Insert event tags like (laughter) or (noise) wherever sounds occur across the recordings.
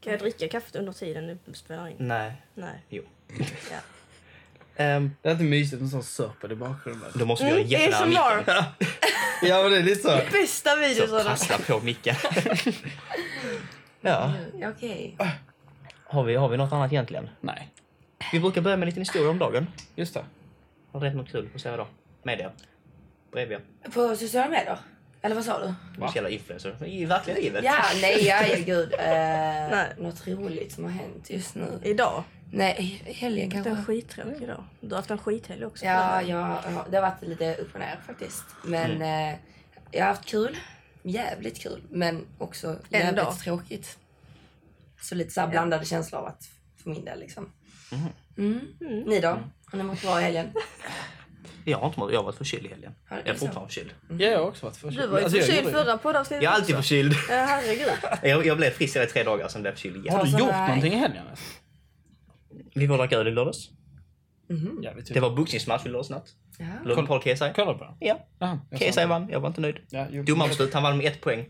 Kan jag dricka kaffet under tiden du spelar in? Nej. Nej. Jo. Ja. Ehm, Det är inte mysigt med sån sörpel i bakgrunden. då måste vi Mm, göra jättenära micken. ASMR! (laughs) Ja, men det är lite så. Bästa Så videosarna! prassla på micken. ja. Mm, Okej. Har vi, har vi något annat egentligen? Nej. Vi brukar börja med en liten historia om dagen. Just det. Har du rätt något kul att säga då? Med er. Bredvid er. På sociala medier? Eller vad sa du? Va? Officiella influencer. I verkliga livet. Ja, nej, ja, ja (laughs) gud. Eh, Nej. Något roligt som har hänt just nu. Idag. Nej, i helgen Det var en kanske. skittråkig dag. Du har haft en skithelg också. Ja, ja, ja, det har varit lite upp och ner faktiskt. Men eh, jag har haft kul. Jävligt kul. Men också jävligt dag. tråkigt. Så lite så här blandade känslor av att för min del liksom. Mm. Ni då? Har ni mått bra i helgen? Jag har inte mått, jag har varit förkyld i helgen. Ja, det är Jag är så. fortfarande förkyld. Ja, Mm. jag har också varit förkyld. Du var ju Alltså, jag förkyld gjorde ju- förra poddavsnittet Jag är alltid också. förkyld. Ja, herregud. Jag, jag blev frisk i tre dagar, sen blev jag förkyld igen. Har du Alltså, gjort nej. någonting i helgen? alltså? Vi var och drack öl i lördags. Jävligt Det tur. var boxningsmatch i lördags natt. Ja. Lund Paul Kesai. Kollar du på den? Ja. Jaha, jag sa Kesai inte. vann, jag var inte nöjd. Ja, jo. Domarbeslut, han vann med ett poäng.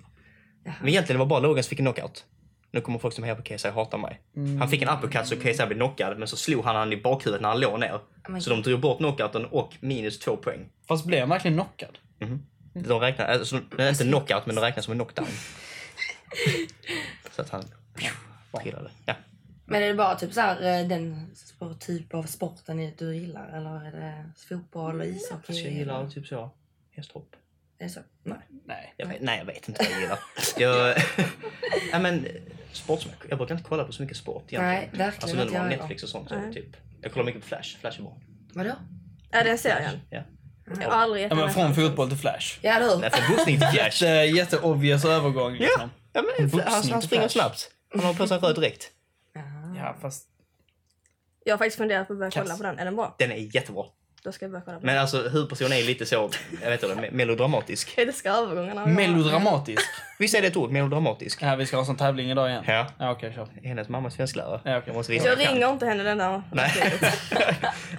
Men egentligen var det bara Logan som fick en knockout. Nu kommer folk som hejar på Kesai hata mig. Han fick en uppercut så Kesai blev knockad, men så slog han han i bakhuvudet när han låg ner. men- Så de drog bort knockouten och minus två poäng. Mhm. Fast blev han verkligen knockad? De räknar, alltså, det är inte knockout, men det räknas som en knockdown. så att han trillade. Ja. Men är det bara typ så här, eh, den sp- typ av sporten ni- du gillar? Eller är det fotboll och ishockey? Alltså, jag gillar typ så hästhopp. Är det så? Nej. Nej. Jag vet, nej, jag vet inte vad jag gillar. jag, (laughs) ja, men, sportsmänniska. Jag brukar inte kolla på så mycket sport egentligen. Nej, verkligen Alltså nu när inte man har jag Netflix och sånt. Så, Nej. typ. Jag kollar mycket på Flash. Flash är bra. Vadå? Ja, den serien. Ja. Jag har aldrig gett Ja, men den en från chans. fotboll till Flash. Ja, eller hur? Nej, från boxning (laughs) till Flash. Jätte, jätte obvious eh, övergång liksom. Ja, men, Boxning han, han till springer Flash. snabbt. Han har på sig en röd dräkt. Jaha. Ja, fast... Jag har faktiskt funderat på att börja kolla Kass. på den. Är den bra? Den är jättebra. Då ska jag börja kolla på den. Men alltså huvudpersonen är lite så, jag vet inte, me- melodramatisk. Jag älskar övergångarna. Melodramatisk. Visst är det ett ord, melodramatisk? Ja, vi ska ha en sån tävling idag igen. Ja. Ja, okej, kör. Hennes mamma är svensklärare. Ja, okej. Jag måste visa Jag vad jag kan. ringer inte henne den där (laughs) Nej.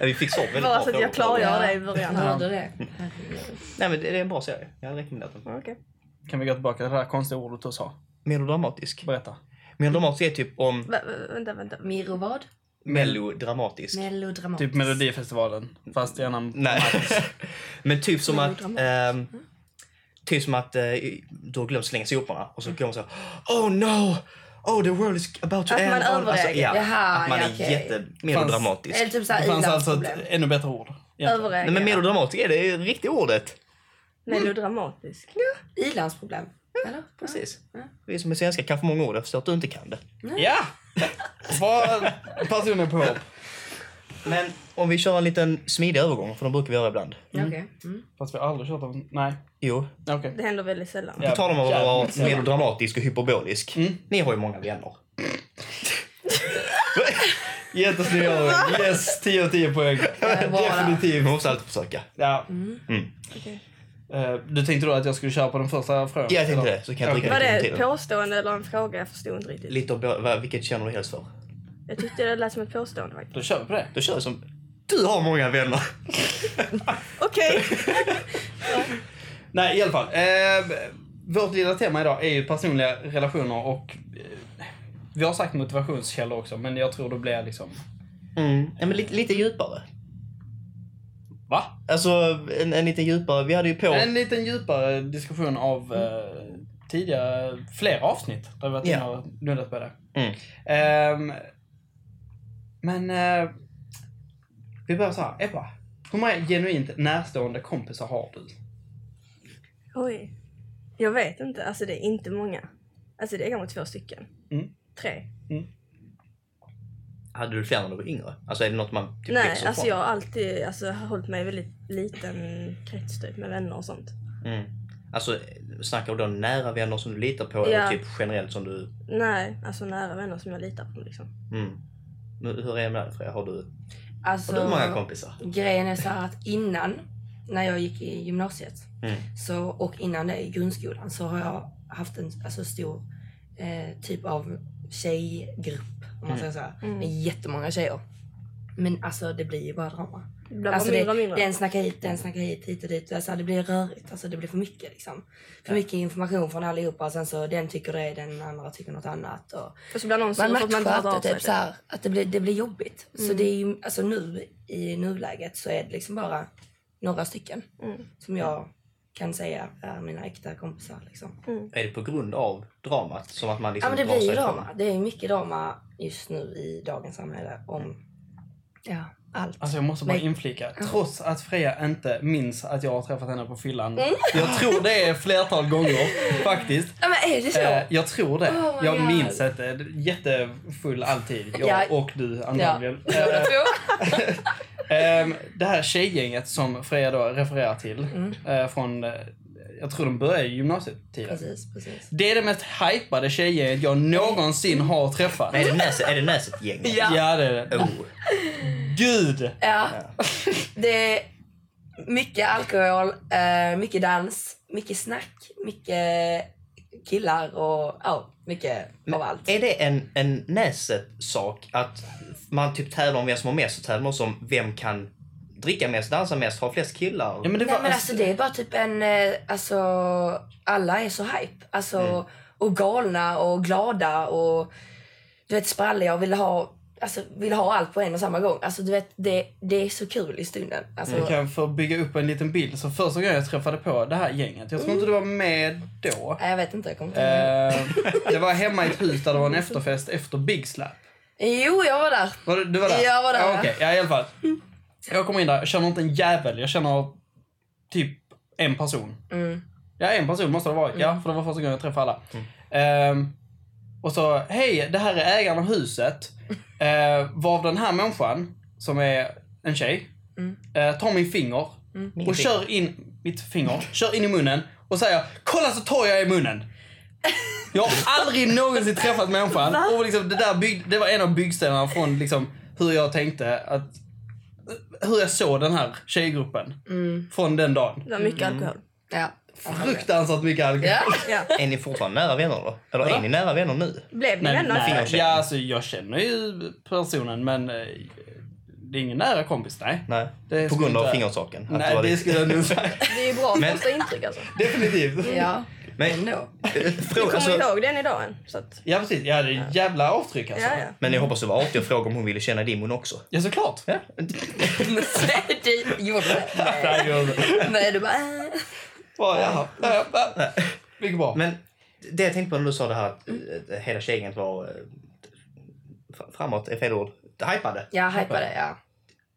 Ja, (laughs) Vi fick svar på väldigt Bara bra så att jag frågor. klargör det i början. Hörde du det? Herregud. Nej men det det är en bra serie. Jag hade rekommenderat den. Okej. Kan vi gå tillbaka till det där konstiga ordet du sa? Melodramatisk. Berätta. Melodramatisk är typ om Vä- vä- Vänta, vänta. Miro vad? melodramatisk. Melodramatisk. Typ Melodifestivalen, fast gärna... (laughs) Nej. men typ som att... ehm, Melodramatisk. typ som att eh, du har glömt slänga soporna och så Mm. kommer så här, Oh no! Oh the world is about to Att end. man Oh, alltså, överreagerar. ja, Jaha, Att man ja, är okej. jättemelodramatisk. Eller typ Det såhär fanns alltså ett i-landsproblem. ännu bättre ord. egentligen. Överreagerar. Nej men melodramatisk är det riktiga ordet. Melodramatisk. I-landsproblem. Eller? Precis. Ja. Vi som är svenskar kan för många ord, jag förstår att du inte kan det. Ja! Vad personen på hopp. Men om vi kör en liten smidig övergång, för de brukar vi göra ibland. Ja, Okej. Mm. Fast vi har aldrig kört om... Nej. Jo, Okej. Det händer väldigt sällan. på tal om att vara jävligt sällan. melodramatisk och hyperbolisk. Ni har ju många vänner. Jättesnygg övergång. Yes, 10 av 10 poäng. är bra Mm. där. Definitivt. Man måste alltid försöka. Ja. Okej. Eh, Du tänkte då att jag skulle köra på den första frågan? Ja, jag tänkte eller? det. Så kan jag Okej. dricka Var det lite ett till. påstående eller en fråga? Jag förstod inte riktigt. Lite av bo- vad- vilket känner du helst för? Jag tyckte det lät som ett påstående faktiskt. Då kör vi på det. Då kör jag som... Du har många vänner. Okej! Nej, i alla fall. Eh, vårt lilla tema idag är ju personliga relationer och eh, vi har sagt motivationskällor också, men jag tror det blir liksom... Mm. Ja, men lite, lite djupare. Va? Alltså en, en lite djupare. Vi hade ju på... En liten djupare diskussion av eh, tidigare, flera avsnitt där vi varit inne Ja. och nuddat på det. Mm. Ehm, men eh, vi börjar så här. Ebba, hur många genuint närstående kompisar har du? Oj. Jag vet inte. Alltså det är inte många. Alltså det är kanske två stycken. Mm. Tre. Hade du fler när du var yngre? Alltså är det något man typ Nej, växer alltså ifrån? jag har alltid alltså, har hållit mig i väldigt liten krets typ med vänner och sånt. Mm. Alltså snackar du då nära vänner som du litar på eller Ja. typ generellt som du... Nej, alltså nära vänner som jag litar på liksom. Mm. Men Hur är det med dig Freja? Har du, Alltså, har du många kompisar? Grejen är så här att innan, när jag gick i gymnasiet Mm. så, och innan det i grundskolan så har jag haft en alltså, stor eh, typ av tjejgrupp. Om man säger så här. Mm. Med jättemånga tjejer. Men alltså det blir ju bara drama. Det blir bara Alltså mindre det, och mindre. den snackar hit, den snackar hit, hit och dit. Alltså det blir rörigt, alltså det blir för mycket liksom. För mycket information från allihopa och sen så den tycker det, den andra tycker något annat. Och Och så blir någon man sur för att man inte hört matchar av inte, sig. typ så här, att det blir, det blir jobbigt. Så det är ju, alltså nu i nuläget så är det liksom bara några stycken Mm. som jag kan säga är mina äkta kompisar liksom. Är det på grund av dramat? Som att man Ja liksom men det drar blir ju sig ifrån? drama. Det är mycket drama just nu i dagens samhälle om ja, allt. Alltså jag måste bara Men- inflika, trots att Freja inte minns att jag har träffat henne på fyllan. Jag tror det är flertal gånger faktiskt. ja men är det så? Eh, jag tror det. Oh my jag God. minns att eh, jättefull alltid, jag Ja. och du ja. antagligen. Båda Eh, två. (laughs) ehm, det här tjejgänget som Freja då refererar till Mm. eh, från, eh, jag tror de började i gymnasietiden. Precis, precis. Det är det mest hypade tjejgänget jag någonsin Mm. har träffat. Nej, är det Näset- är det Näset-gänget? Ja. det är det. Oh. Gud! Ja. (laughs) Det är mycket alkohol, eh, mycket dans, mycket snack, mycket killar och ja, mycket av allt. Är det en, en Näset-sak att man typ tävlar om vem som har mest? Så tävlar man om vem kan dricka mest, dansa mest, ha flest killar? Ja, men det var, Nej men alltså det är bara typ en, eh, alltså alla är så hype. Alltså och galna och glada och du vet spralliga och vill ha, alltså vill ha allt på en och samma gång. Alltså du vet det, det är så kul i stunden. Alltså, Jag kan få bygga upp en liten bild. Så första gången jag träffade på det här gänget, jag tror Mm. inte du var med då. nej, jag vet inte, jag kommer inte ihåg. Eh, det var hemma i ett hus där det var en efterfest efter Big Slap. Jo jag var där. Var du, du var där? Jag var där, Ja, ja. okej. ja, i alla fall. Jag kommer in där, jag känner inte en jävel. Jag känner typ en person. Mm. Ja, en person måste det ha varit. Ja, för det var första gången jag träffade alla. Ehm, och så, hej, det här är ägaren av huset. Uh, var den här människan, som är en tjej, Mm. eh, tar min finger och kör in, mitt finger, kör in i munnen och säger “Kolla så tar jag i munnen!” Jag har aldrig någonsin träffat människan. Och liksom, det, där bygg, det var en av byggstenarna från liksom, hur jag tänkte att hur jag såg den här tjejgruppen Mm. från den dagen. Det var mycket Mm. alkohol. Ja. Fruktansvärt mycket alkohol. Ja. Ja. (laughs) Är ni fortfarande nära vänner då? Eller Vadå? är ni nära vänner nu? Blev ni Nej, vänner? nej. Fingerkänning. Ja, alltså, jag känner ju personen men eh, det är ingen nära kompis, nej. Nej. Det På skulle grund av inte- fingersaken? Att Nej, var det lite- skulle jag (laughs) nog säga. Det är ju bra Men- första intryck alltså. Definitivt. Ja, (laughs) Men, ändå. (laughs) Jag fråga, kommer alltså, ihåg den idag än. Så att, Ja, precis. Ja, det är ett jävla avtryck alltså. ja, ja. men jag hoppas du var artig och frågade om hon ville känna din mun också. Ja, såklart. Ja. Du gjorde det. Nej. Nej, jag- Nej, du bara... äh. Bara, jaha. Ja, ja, ja. Mycket bra. Men det jag tänkte på när du sa det här att eh, hela tjejgänget var eh, fr- framåt, är fel ord, hypade. Jag hypade, ja.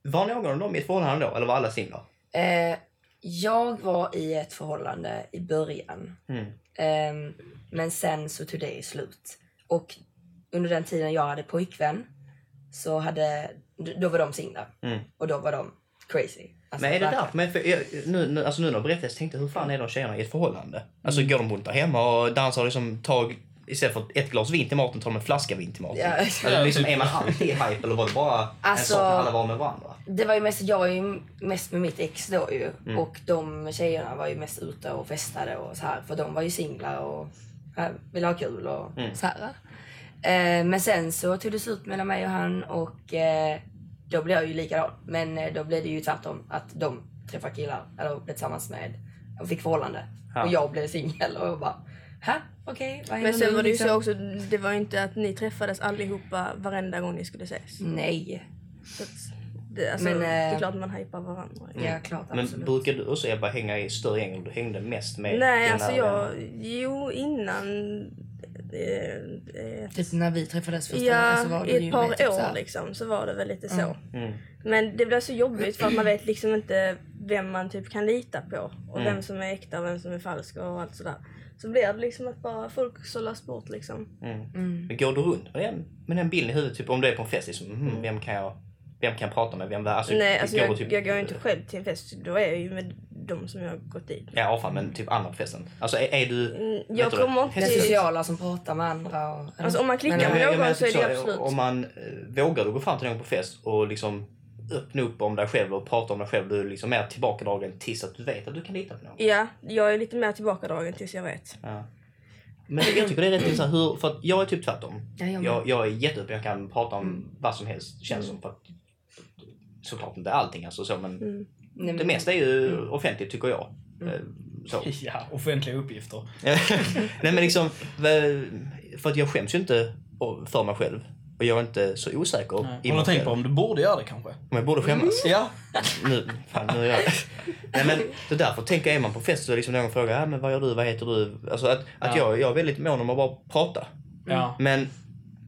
Var någon av dem i ett förhållande då? Eller var alla singlar? Eh, jag var i ett förhållande i början. Mm. Alltså, Ehm, men sen så tog det slut. Och under den tiden jag hade pojkvän så hade... d- Då var de singlar. Mm. Och då var de crazy. Alltså, Men är det verkligen. därför? Men för, jag- nu, nu, alltså nu när du berättade så tänkte jag, hur fan är de tjejerna i ett förhållande? Alltså Mm. går de runt där hemma och dansar liksom tag, istället för ett glas vin till maten tar de en flaska vin till maten? Ja. Eller liksom, är man alltid hype eller var det bara Alltså- en sak när alla var med varandra? Det var ju mest, jag var ju mest med mitt ex då ju. Mm. Och de tjejerna var ju mest ute och festade och så här. För de var ju singlar och ja, ville ha kul och Mm. så här. Eh, men sen så tog det slut mellan mig och han och eh, då blev jag ju likadan. Men eh, då blev det ju tvärtom. Att de träffade killar eller blev tillsammans med och fick förhållande. Ja. Och jag blev singel och jag bara, hä? Okej, vad händer Men sen nu, var det ju liksom? så också, det var ju inte att ni träffades allihopa varenda gång ni skulle ses. Nej, Så att det, alltså, Men, det eh, är klart man hypar varandra. ja klart Mm. Men absolut. brukar du också Ebba hänga i större gäng? Du hängde mest med Nej, dina alltså vänner. jag... Jo, innan... Eh, eh, Typ när vi träffades första gången så ja, var du i ju ett par med, typ, så år här. liksom så var det väl lite så. Mm. Mm. Men det blir så jobbigt för att man vet liksom inte vem man typ kan lita på. Och Mm. vem som är äkta och vem som är falsk och allt sådär. Så blir det liksom att bara folk sållas bort liksom. Mm. Mm. Men Går du runt med den, med den bilden i huvudet? Typ om du är på en fest, liksom, mm, vem kan jag vem kan jag prata med? Vem, alltså, Nej, alltså du jag, jag går ju inte själv till en fest. Då är jag ju med de som jag har gått dit med. Ja, avfall, men typ andra på festen. Alltså är, är du... Mm, vet jag du det? kommer inte- Det Häst- Precis. sociala som pratar med andra. Och, Alltså, om man klickar Men- Ja, men med jag någon menar, så är typ det så, absolut. Om man eh, vågar du gå fram till någon på fest och liksom öppna upp om dig själv och prata om dig själv. Du är liksom mer tillbakadragen tills att du vet att du kan lita på någon. Ja, jag är lite mer tillbakadragen tills jag vet. Ja. Men jag tycker det är rätt intressant hur, för att jag är typ tvärtom. Ja, jag med. jag, jag är jätteöppen, jag kan prata om vad som helst känns som. För att, såklart inte allting alltså så, men Nej, det men- mesta är ju offentligt tycker jag. Eh, (laughs) Så. (laughs) Ja, offentliga uppgifter. Nej men liksom, väl- för att jag skäms ju inte för mig själv. Och jag är inte så osäker i Har du mig tänkt själv. på om du borde göra det kanske? Om jag borde skämmas. Ja. Nu, fan, nu är jag... Nej men, så därför tänker jag, är man på fest så är det liksom någon frågar, ja men vad gör du, vad heter du? Alltså att, att Ja. jag, jag är väldigt mån om att bara prata. ja. Men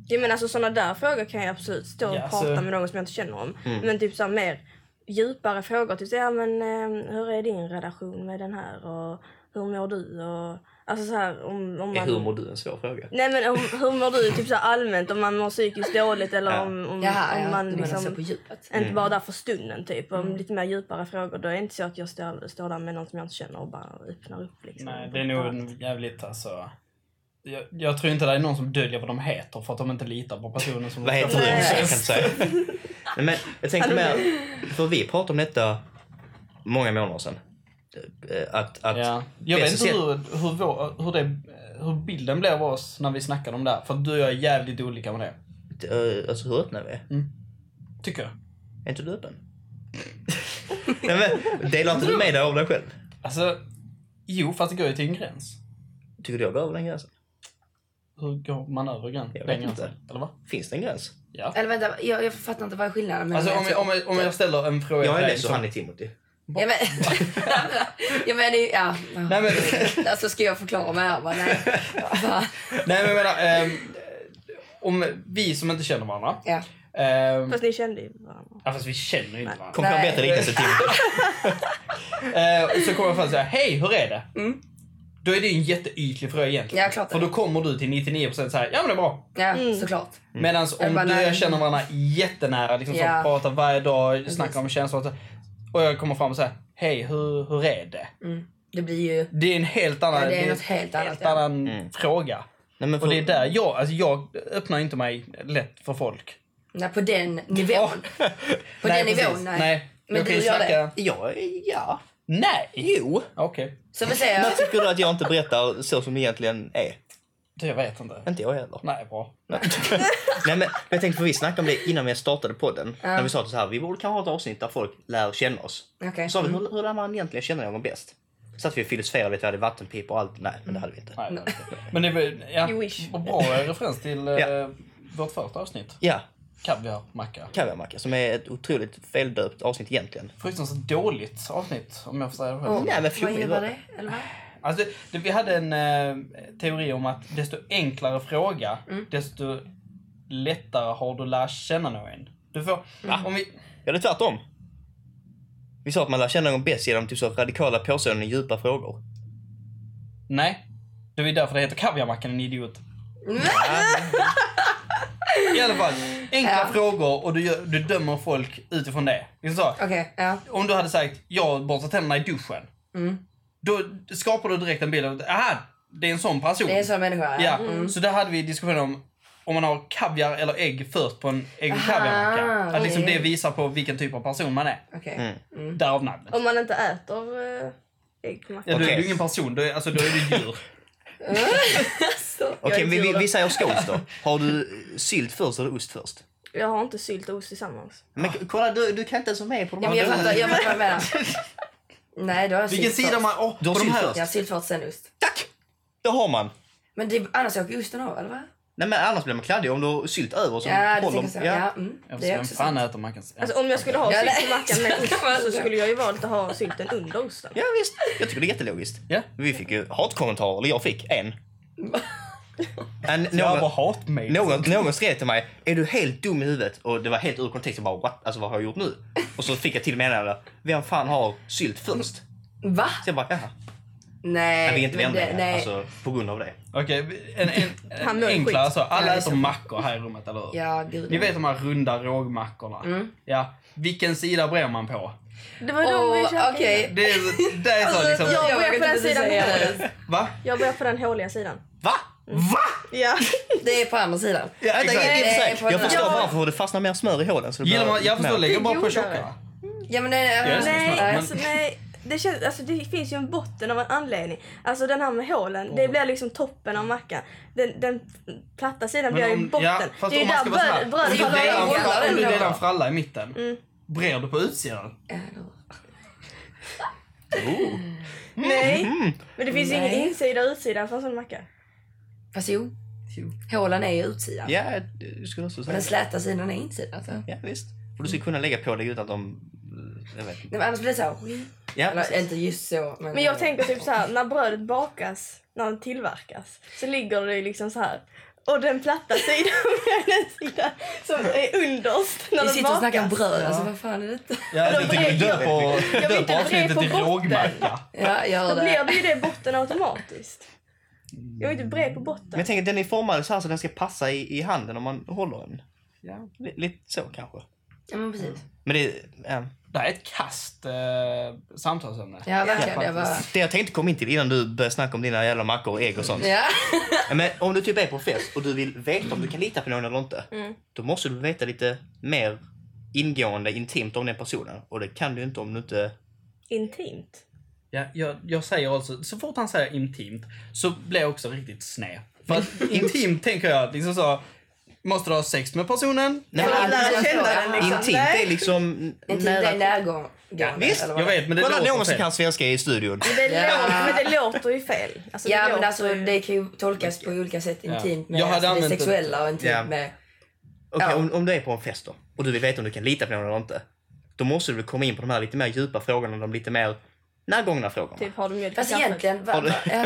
Ja, men alltså, sådana där frågor kan jag absolut stå och Ja, prata alltså- med någon som jag inte känner om. Mm. Men typ så här, mer djupare frågor. Typ så, här, ja, men, eh, hur är din relation med den här? Och hur mår du? Och, alltså så här, om, om är man... humor du en svår fråga? Mm. Nej men om, hur mår du typ så här allmänt? Om man mår psykiskt dåligt eller Ja. Mm. om, om, Jaha, om ja, man du menar så liksom... på djupet. Inte bara där för stunden typ. Om lite mer djupare frågor. Då är det inte så att jag står, står där med någon som jag inte känner och bara öppnar upp. Liksom. Nej, det är nog en jävligt alltså... Jag, jag tror inte det är någon som döljer vad de heter för att de inte litar på personen som Vad heter du? Nej. Jag kan inte säga. Nej, men jag tänkte mer, för vi pratade om detta många månader sedan. Eh, Att, att Ja. Jag vet bästa inte hur, hur, vår, hur, det, hur bilden blev av oss när vi snackade om det här. För att du och jag är jävligt olika med det. sätt- eh, alltså hur öppna vi är. Tycker jag. Är inte du öppen? (laughs) Nej, men, delar inte du med dig av dig själv? Alltså, jo fast det går ju till en gräns. Tycker du jag går över den gränsen? Hur går man över grän- Jag vet den inte. gränsen? Eller vad? Finns det en gräns? Ja. Eller vänta, jag, jag fattar inte vad är skillnaden mellan Alltså om de här jag, om, jag, om jag ställer en fråga Jag är dig less och som- han är Timothy. Ja men, (laughs) ja, men det är ju- ja. Nej men, (laughs) Alltså ska jag förklara mig här? Bara, nej. Bara, nej, men jag menar, ehm, om vi som inte känner varandra. ja. ehm, Fast ni kände ju varandra. ja, fast vi känner ju inte varandra. Kom på en Nej. bättre liknelse Timothy. Eh, så kommer jag fram och säger hej, hur är det? Då är det ju en jätteytlig fråga egentligen. Ja, klart det. För då kommer du till 99% så här, ja men det är bra. ja såklart. Medan om Jag bara, du och jag nej. känner varandra jättenära, liksom så Ja. pratar varje dag, snackar om känslor och så. Och jag kommer fram och säger, hej hur, hur är det? Det blir ju... Det är en helt annan, Mm. Ja, det är en något helt annat, ja. annan fråga. Nej, men för, Och det är där jag, alltså jag öppnar inte mig lätt för folk. Nej, på den nivån. På den nivån, nej. nej. Men jag du kan ju gör det. snacka... Ja, ja. Nej! Jo. Okej, Så vi säger, När tycker du att jag inte berättar så som det egentligen är? det jag vet inte. Inte jag heller. Nej, bra. Nej men jag tänkte för vi snackade om det innan vi startade podden. När vi sa att så här, vi borde kanske ha ett avsnitt där folk lär känna oss. Okej. Så sa vi, hur, hur lär man egentligen känna någon bäst? Så att vi filosoferade lite, vi hade vattenpipor och allt. Nej, men det hade vi inte. Nej, det vet jag. Men det är väl- ja, You wish. vad bra referens till eh, Ja. vårt första avsnitt. Ja, Kaviar, macka. kaviarmacka som är ett otroligt feldöpt avsnitt egentligen. Fruktansvärt dåligt avsnitt om jag får säga det själv. Åh. Nej men vad flummigt. innebär det? Eller vad? Alltså, det, vi hade en eh, teori om att desto enklare fråga, Mm. desto lättare har du lärt känna någon. Du får, om vi, Ja, det är tvärtom. Vi sa att man lär känna någon bäst genom typ så radikala påståenden och djupa frågor. nej, det är därför det heter kaviarmackan, en idiot. I alla fall, enkla (laughs) Ja. frågor och du, gör, du dömer folk utifrån det. Liksom så. Okej, ja. om du hade sagt jag borstar tänderna i duschen. Mm. Då skapar du direkt en bild av att aha, det är en sån person. Det är en sån människa, ja. ja. Så där hade vi diskussion om om man har kaviar eller ägg först på en ägg och kaviarmacka. Att liksom det okej. visar på vilken typ av person man är. Okej. Därav namnet. Om man inte äter eh, ägg på mackan. Ja, då är Okej. du ingen person, då är, alltså, (laughs) då är du djur. Jag Okej, är vi, inte vi, djur. vi säger scones då. Har du sylt först eller ost först? Jag har inte sylt och ost tillsammans. Men k- kolla, du, du kan inte ens vara med på de ja här men jag dörrarna. fattar, jag fattar vad du menar. Nej, då har jag vilken sylt sida först. man... Åh, Du har på de sylt här. först. Jag har sylt först, sen ost. Tack! Det har man. Men det, annars åker osten av, eller vad? Nej men annars blir man kladdig om du har sylt över så Ja, det håller- tänker jag så. Ja, mm, Jag det förstår, är vem också fan sant. äter mackan? Alltså om jag skulle ha Ja, sylt nej. på mackan (laughs) med ost så skulle jag ju valt att ha sylten under osten. Ja visst, jag tycker det är jättelogiskt. Ja. Vi fick ju hatkommentarer, eller jag fick (laughs) en. en Jag någon, var hatmail. någon, någon skrev till mig, är du helt dum i huvudet? Och det var helt ur kontext, jag bara what? Alltså vad har jag gjort nu? Och så fick jag till meddelandet, vem fan har sylt först? Va? Så jag bara, jaha. Nej. Nej, vi är inte men vänner det- längre, nej. alltså på grund av det. Okej, en, en, Han en mår enklare skit. så. Alla Ja, äter det är mackor här i rummet, eller hur? Ja, gud. Ni vet de här runda rågmackorna? Ja. Vilken sida brer man på? Det var de vi Åh, käkade. okej. Det är, det är Alltså, så liksom... jag börjar på den inte sidan säga med. det. Va? Jag börjar på den håliga sidan. Va? Va? (laughs) Ja. Alltså, Det är på andra sidan. Ja, vänta, exakt. jag, Nej, jag, på jag, jag den- förstår Ja. varför det fastnar mer smör i hålen. Så det Gillar blir man, jag lite förstår, mer- lägger bara på godare. tjockare. Ja, men eh, det, ja, det är Nej, smart, men- alltså, nej. Det, känns, alltså, det finns ju en botten av en anledning. Alltså den här med hålen, det blir liksom toppen av mackan. Den, den platta sidan Men blir om- ju botten. ja, fast det är ju om man där ska vara Alltså, så bröd- här, brödet Om du faller i delar en fralla- hålla hålen om du då. den delar en fralla i mitten. brer du på utsidan? Eller, Nej. Mm. Men det finns ju Nej. ingen insida och utsida för en sån macka. fast jo, hålan är ju utsidan. Ja, du skulle också Och säga den det. släta sidan är insidan. alltså. Så. Ja, visst. Och du skulle kunna lägga på dig utan att de... eh, Jag vet inte. Nej, men annars blir det så här... Ja, Eller eh, precis. inte just så. Men, Men jag tänker typ så här, när brödet bakas, när det tillverkas, så ligger det ju liksom så här. Och den platta sidan (laughs) och den sida som är underst när Vi den sitter och bakas. snackar bröd. Ja. Alltså, vad fan är detta? Ja, Eller du tänker brer- döpa jag vill döpa inte bre avsnittet på till botten. rågmacka. Ja, Då gör blir det. det ju det botten automatiskt. Jag är ju inte bred på Men botten. jag tänker den är formad så här så den ska passa i, i handen om man håller den. Ja. Li- lite så kanske. Ja, men precis. Men det... ja. Det här är ett kast eh, samtalsämne. Ja, verkligen. Ja, det var... Det jag tänkte komma in till innan du började snacka om dina jävla mackor och ägg och sånt. Ja. Ja, Men om du typ är på fest och du vill veta om du kan lita på någon eller inte. Mm. Då måste du veta lite mer ingående, intimt om den personen. Och det kan du inte om du inte... Intimt. Ja, jag, jag säger alltså, så fort han säger intimt så blir jag också riktigt sned. För att (laughs) intimt tänker jag liksom så, måste du ha sex med personen? Nej, Eller att men, lära känna den liksom. intimt är liksom Intimt är typ nära... närgång. Ja, visst, Jag vet men det Kolla låter någon som fel. kan svenska i studion. Det Ja. låter, men det låter ju fel. Alltså, Ja, men låter alltså ju- det kan ju tolkas på olika sätt. Intimt med Jag hade alltså, det använt det. sexuella och intimt Ja. med... Okej, Ja. om, om du är på en fest då, och du vill veta om du kan lita på någon eller inte. Då måste du väl komma in på de här lite mer djupa frågorna, de lite mer närgångna frågorna. Typ har de mjölk i Fast kaffet? egentligen, va, Har du- va, ja.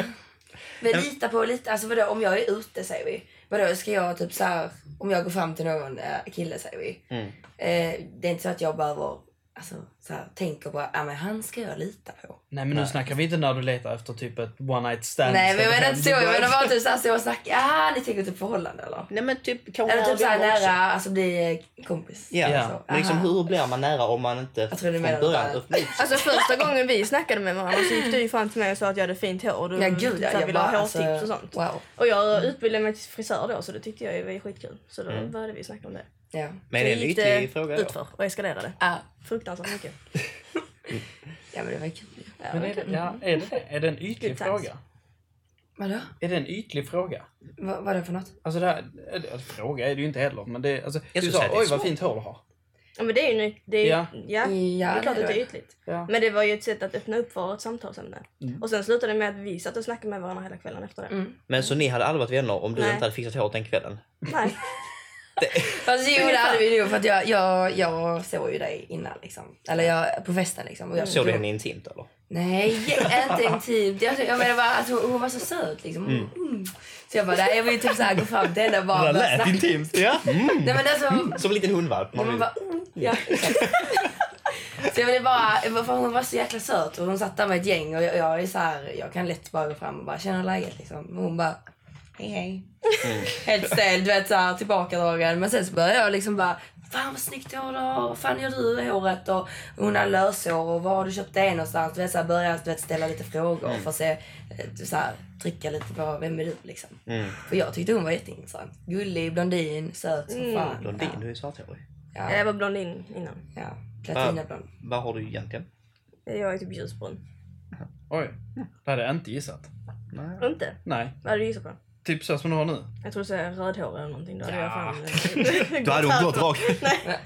vi litar på lite, alltså vadå om jag är ute säger vi. Vadå ska jag typ så här, om jag går fram till någon eh, kille säger vi. Mm. Eh, det är inte så att jag behöver, alltså så här, tänker bara, ja men han ska jag lita på. Nej men nu snackar vi inte när du letar efter typ ett one night stand. Nej men jag istället för- menar inte så, jag menar bara typ såhär stå och snacka, ja ni tänker typ förhållande eller? Nej men typ kanske Eller typ såhär närgångna också. nära, alltså bli eh, kompis. Ja, Ja. Så, men liksom aha. hur blir man nära om man inte Jag tror du från menar början bara- öppnar upp sig? Alltså första gången vi snackade med varandra så gick du ju fram till mig och sa att jag hade fint hår och du Ja gud så ja, här jag ville bara ha alltså, hårtips och sånt. wow. Och jag Mm. utbildade mig till frisör då så det tyckte jag var skitkul. Så då började vi snacka om det. Ja. Men det är en Sen gick det ytlig fråga då. utför och eskalerade. Ah, Fruktansvärt mycket. ja men det var kul. Ja, Men är det, ja, är det, det? Är det en Good ytlig times. fråga? Vadå? Är det en ytlig fråga? Vad, vad är det för något? Alltså det här, eller, alltså, fråga är det ju inte heller men det, alltså, Jag skulle du sa säga att det är oj vad svårt." fint hår du har. Ja, men det är ju ny- det är, ju- Ja. ja. Ja, det är klart det att det är är det. ytligt. Ja. Men det var ju ett sätt att öppna upp för ett samtalsämne. Mm. Och sen slutade det med att vi satt och snackade med varandra hela kvällen efter det. Mm. Men så ni hade aldrig varit vänner om du Nej. inte hade fixat håret den kvällen? Nej. Fast jo det hade vi nog för att jag, jag, jag såg ju dig innan liksom. Eller jag, på festen liksom. Och jag Såg du henne intimt eller? Nej, inte intimt. Jag, jag menar bara att hon, hon var så söt liksom. Mm. Så jag bara, nej, jag vill ju typ såhär gå fram till henne och bara börja snacka. intimt. Ja. Mm. Nej men alltså, Som en liten hundvalp. ja, Man man vill- bara, mm, ja. exakt. Så jag ville bara, för hon var så jäkla söt och hon satt där med ett gäng och jag, jag är så här, jag kan lätt bara gå fram och bara känna läget liksom. Och hon bara, hej hej. (laughs) Helt stel, du vet såhär tillbakadragen. Men sen så började jag liksom bara, fan vad snyggt hår du har, vad fan gör du i håret? Och hon har löshår och var har du köpt det någonstans? Du vet såhär började du vet, ställa lite frågor för att se, eh, du såhär trycka lite på vem är du liksom. Mm. För jag tyckte hon var jätteintressant. Gullig, blondin, söt som fan. Blondin, du är svarthårig. (laughs) Ja, Jag ja, var blondin innan. ja. platinablond. Vad har du egentligen? Jag är typ ljusbrun. Oj, det hade jag inte gissat. Nej. Inte? Nej, Vad hade du gissat på? typ så som du har nu. Jag tror du säger rödhårig eller någonting. Då hade jag fan... (laughs) Då hade hon gått rakt. (laughs)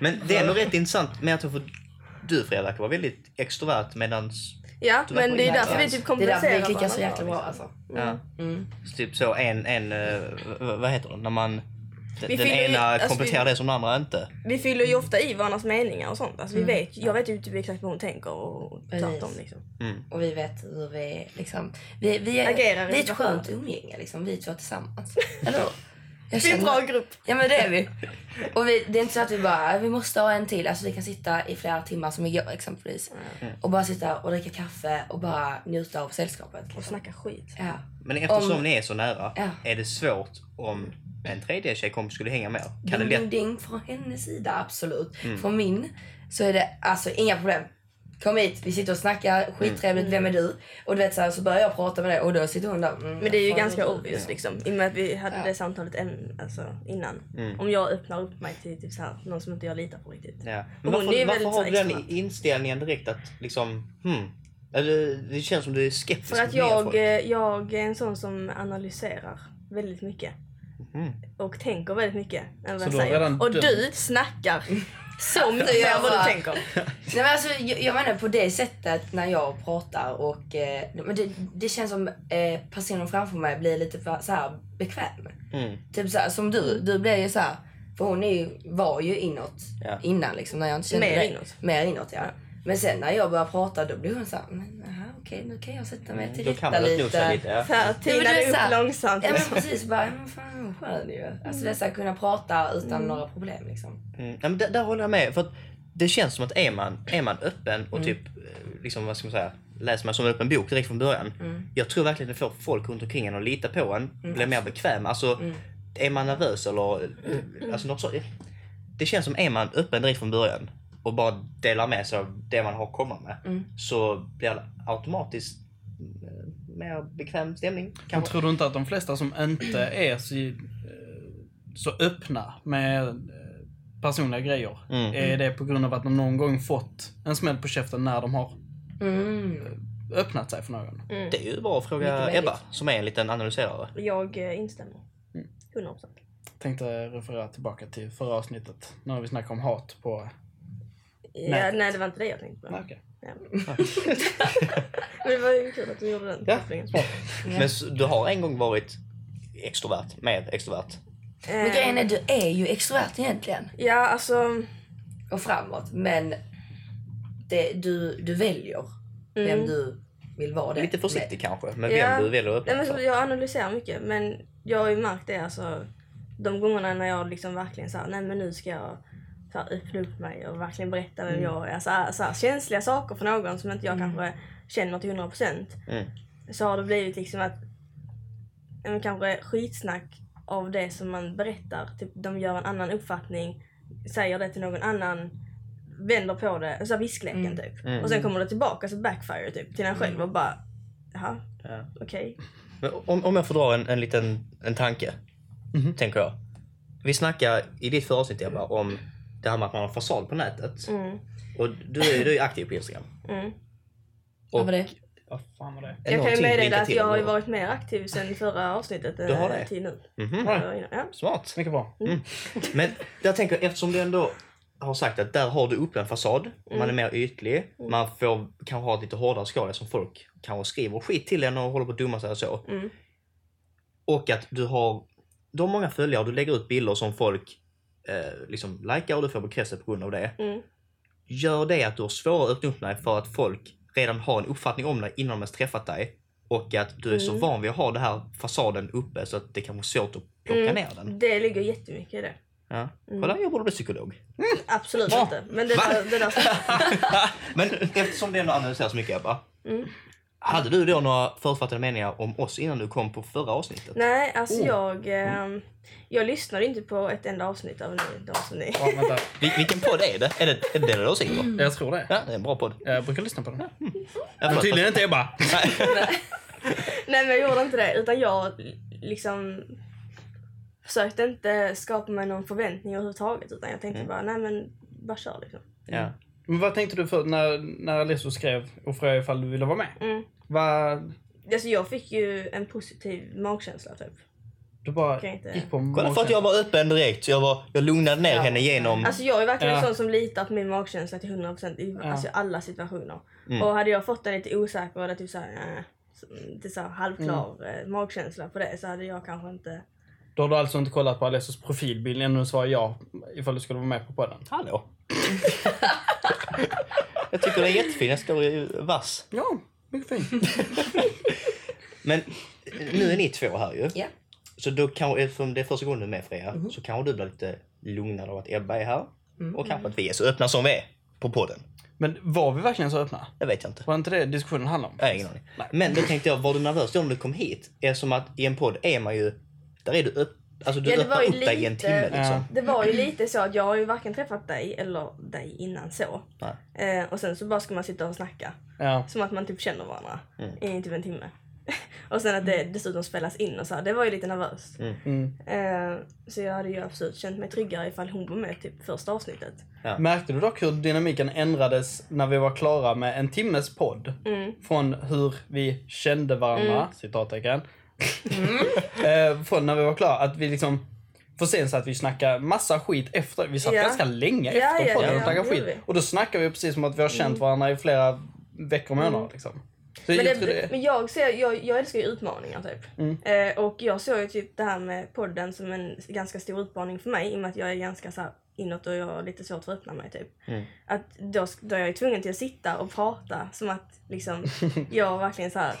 Men det är nog rätt intressant med att för du Fredrik var väldigt extrovert medans Ja, Du var men på det är Instagram. därför vi typ Det är kompenserar därför vi klickar så varandra. jäkla bra alltså. ja, Mm. eh, typ så en, en eh, v- vad heter det, när man Vi den, den fyller ju- ena alltså, kompletterar vi- det som den andra inte. Vi fyller ju ofta i varandras meningar och sånt. Mm. Alltså, vi vet, jag vet ju typ exakt vad hon tänker och tvärtom. Liksom. Och vi vet hur vi liksom... Vi, vi Agerar är, i det är ett situationen. skönt umgänge liksom, vi (laughs) två tillsammans. Eller hur? Jag Vi är en bra grupp. Ja men det är vi. Och vi, det är inte så att vi bara, "Ah, vi måste ha en till. Alltså vi kan sitta i flera timmar som igår exempelvis. Och bara sitta och dricka kaffe och bara njuta av sällskapet. Och Liksom. snackar skit. Ja. Men eftersom Om- ni är så nära, Ja. är det svårt om en tredje tjejkompis skulle hänga med? Kan det Mm. Ding, ding, lätt... ding från hennes sida, absolut. Från min så är det alltså inga problem. Kom hit, vi sitter och snackar, skittrevligt, vem är du? Och du vet så, här, så börjar jag prata med dig och då sitter hon där. Mm, Men det är ju fan, ganska vad du- obvious liksom. I och med att vi hade det samtalet en, alltså, innan. Mm. Om jag öppnar upp mig till typ, så här, någon som inte jag litar på riktigt. Ja. Hon Men är varför, väldigt varför har du den extrovert. inställningen direkt att liksom, hmm, eller, det känns som du är skeptisk För att mot nya jag, folk. eh, jag är en sån som analyserar väldigt mycket. Och tänker väldigt mycket. Än vad Mm. Så jag du säger. har redan Och dömt. (laughs) du snackar Så mycket mer än vad du tänker. Nej, men alltså, jag, jag menar på det sättet när jag pratar och eh, men det, det känns som eh, personen framför mig blir lite för, så här bekväm. Mm. Typ så här, som du, du blir ju så här, för hon är ju, var ju inåt Ja. innan liksom när jag inte kände Mer dig. inåt. Mer inåt ja. Men sen när jag börjar prata då blir hon så här, men aha, okej nu kan jag sätta mig till Då kan rätta man öppna upp sig lite. lite. Ja. Så här, Ja, men tinar du det är så upp här- långsamt. Ja men precis, bara, ja, men fan hon skön ju. Alltså det är så här, kunna prata utan Mm. några problem liksom. Mm. Nej, men där, där håller jag med. För att det känns som att är man, är man öppen Mm. och typ, eh, liksom, vad ska man säga, läser man som en öppen bok direkt från början. Mm. Jag tror verkligen det får folk runt omkring en att lita på en, bli mer bekväm. Alltså, Mm. är man nervös eller eh, alltså, något så. Det känns som är man öppen direkt från början och bara delar med sig av det man har att komma med. Mm. Så blir det automatiskt eh, mer bekväm stämning. Men Kanske. tror du inte att de flesta som inte är så, eh, så öppna med eh, personliga grejer, Mm. är det på grund av att de någon gång fått en smäll på käften när de har Mm. öppnat sig för någon? Det är ju bara att fråga Mycket möjligt. Ebba som är en liten analyserare. Jag eh, instämmer. Mm. 100%. Tänkte referera tillbaka till förra avsnittet, när vi snackade om hat på... Ja, Nej. nej, det var inte det jag tänkte på. Nej, okej. Ja. men det var ju kul att du gjorde den Ja. kopplingen. Men s- du har en gång varit extrovert med extrovert. Men Eh, grejen är, du är ju extrovert egentligen. Ja, alltså. och framåt. Men det, du, du väljer Mm. vem du vill vara det Lite försiktig kanske med vem Ja. du väljer att öppna Nej, men så för. jag analyserar mycket men jag har ju märkt det alltså de gångerna när jag liksom verkligen såhär, nej men nu ska jag så här, öppna upp mig och verkligen berätta Mm. vem jag är. Alltså, så här, känsliga saker för någon som inte jag kanske känner till 100% Mm. så har det blivit liksom att ja, men kanske skitsnack av det som man berättar. Typ de gör en annan uppfattning, säger det till någon annan, vänder på det, så här viskleken typ. Mm. Och sen kommer det tillbaka så backfire typ till en själv och bara, jaha, Ja. okej. Men om, om jag får dra en, en liten en tanke, tänker jag. Vi snackade i ditt förra avsnitt Ebba om det här med att man har fasad på nätet. Mm. Och du är ju du är aktiv på Instagram. Mm. Och, Vad var det? Vad fan var det? Jag kan ju någonting meddela blinkar att till jag har ju ändå. varit mer aktiv sen förra avsnittet eh, Du har det? till nu. Mhm. Ja. Ja. Smart. Mycket bra. Men jag tänker eftersom du ändå har sagt att där har du upp en fasad, man är Mm. mer ytlig, man får kanske ha ett lite hårdare skal som folk kanske skriver skit till en och håller på att dumma sig och så. Mm. Och att du har, du har många följare och du lägger ut bilder som folk eh, liksom likar och du får bekräftelse på grund av det. Mm. Gör det att du har svårare att öppna upp dig för att folk redan har en uppfattning om dig innan de ens träffat dig och att du är Mm. så van vid att ha den här fasaden uppe så att det kan vara svårt att plocka Mm. ner den. Det ligger jättemycket i det. Ja. Kolla, jag borde bli psykolog. Absolut Va? inte. Men det Va? där, det där (laughs) Men eftersom det ändå analyseras mycket Ebba. Mm. Hade du då några förutfattade meningar om oss innan du kom på förra avsnittet? Nej, alltså Oh. jag... ehm, jag lyssnade inte på ett enda avsnitt av ni- de som ni... (laughs) Ja, (laughs) vänta. Vil- vilken podd är det? Är det, är det Delade åsikter? Mm. Jag tror det. Ja, det är en bra podd. Jag brukar lyssna på den. Ja, Men förlåt. tydligen inte Ebba. Nej, men jag gjorde inte det. Utan jag liksom... Försökte inte skapa mig någon förväntning överhuvudtaget. Utan jag Mm. tänkte bara, nej men bara kör liksom. Ja. Men vad tänkte du för när, när Alesso skrev och frågade ifall du ville vara med? Mm. Vad... Alltså jag fick ju en positiv magkänsla typ. Du bara Kan jag inte- gick på Kolla för att jag var öppen direkt. Jag, var, jag lugnade ner Ja. henne genom... Alltså jag är verkligen Ja. en sån som litar på min magkänsla till 100% i alltså, alla situationer. Mm. Och hade jag fått en lite osäker eller typ såhär, äh, så här halvklar eh, magkänsla på det så hade jag kanske inte... Då har du alltså inte kollat på Alessos profilbild innan du svarade ja ifall du skulle vara med på podden? Hallå! (laughs) jag tycker det är jättefin. Jag står ju vass. Ja, mycket fint. (laughs) Men nu är ni två här ju. Ja. Så då kan, eftersom det är första gången du är med Freja, Mhm. så kanske du blir lite lugnare av att Ebba är här. Mm. Och kanske att vi är så öppna som vi är på podden. Men var vi verkligen så öppna? Det vet jag inte. Var inte det diskussionen handlade om? Jag har ingen aning. Men då tänkte jag, var du nervös då när du kom hit? Eftersom att i en podd är man ju... Där är du upp, alltså du Ja, det var öppnar ju upp dig i en lite- timme liksom. Det var ju lite så att jag har ju varken träffat dig eller dig innan så. Nej. Eh, och sen så bara ska man sitta och snacka. Ja. Som att man typ känner varandra i typ en timme. (laughs) och sen att det dessutom spelas in och så här, det var ju lite nervöst. Mm. Eh, så jag hade ju absolut känt mig tryggare ifall hon var med typ första avsnittet. Märkte du dock hur dynamiken ändrades när vi var klara med en timmes podd? Mm. Från hur vi Mm. (laughs) kände varandra, citattecken. eh, från när vi var klara, att vi liksom... För sen satt vi och snackade massa skit efter. Vi satt Ja. ganska länge Ja, efter ja, podden ja, och snackade det skit. gjorde vi. Mm. Och då snackade vi precis som att vi har känt varandra i flera veckor och månader. Liksom. Så Men, jag det, tror det, men jag, ser, jag, jag älskar ju utmaningar typ. Eh, och jag såg ju typ det här med podden som en ganska stor utmaning för mig i och med att jag är ganska så här inåt och jag har lite svårt för att öppna mig typ. Att då, sk- då är jag ju tvungen till att sitta och prata som att liksom jag verkligen så här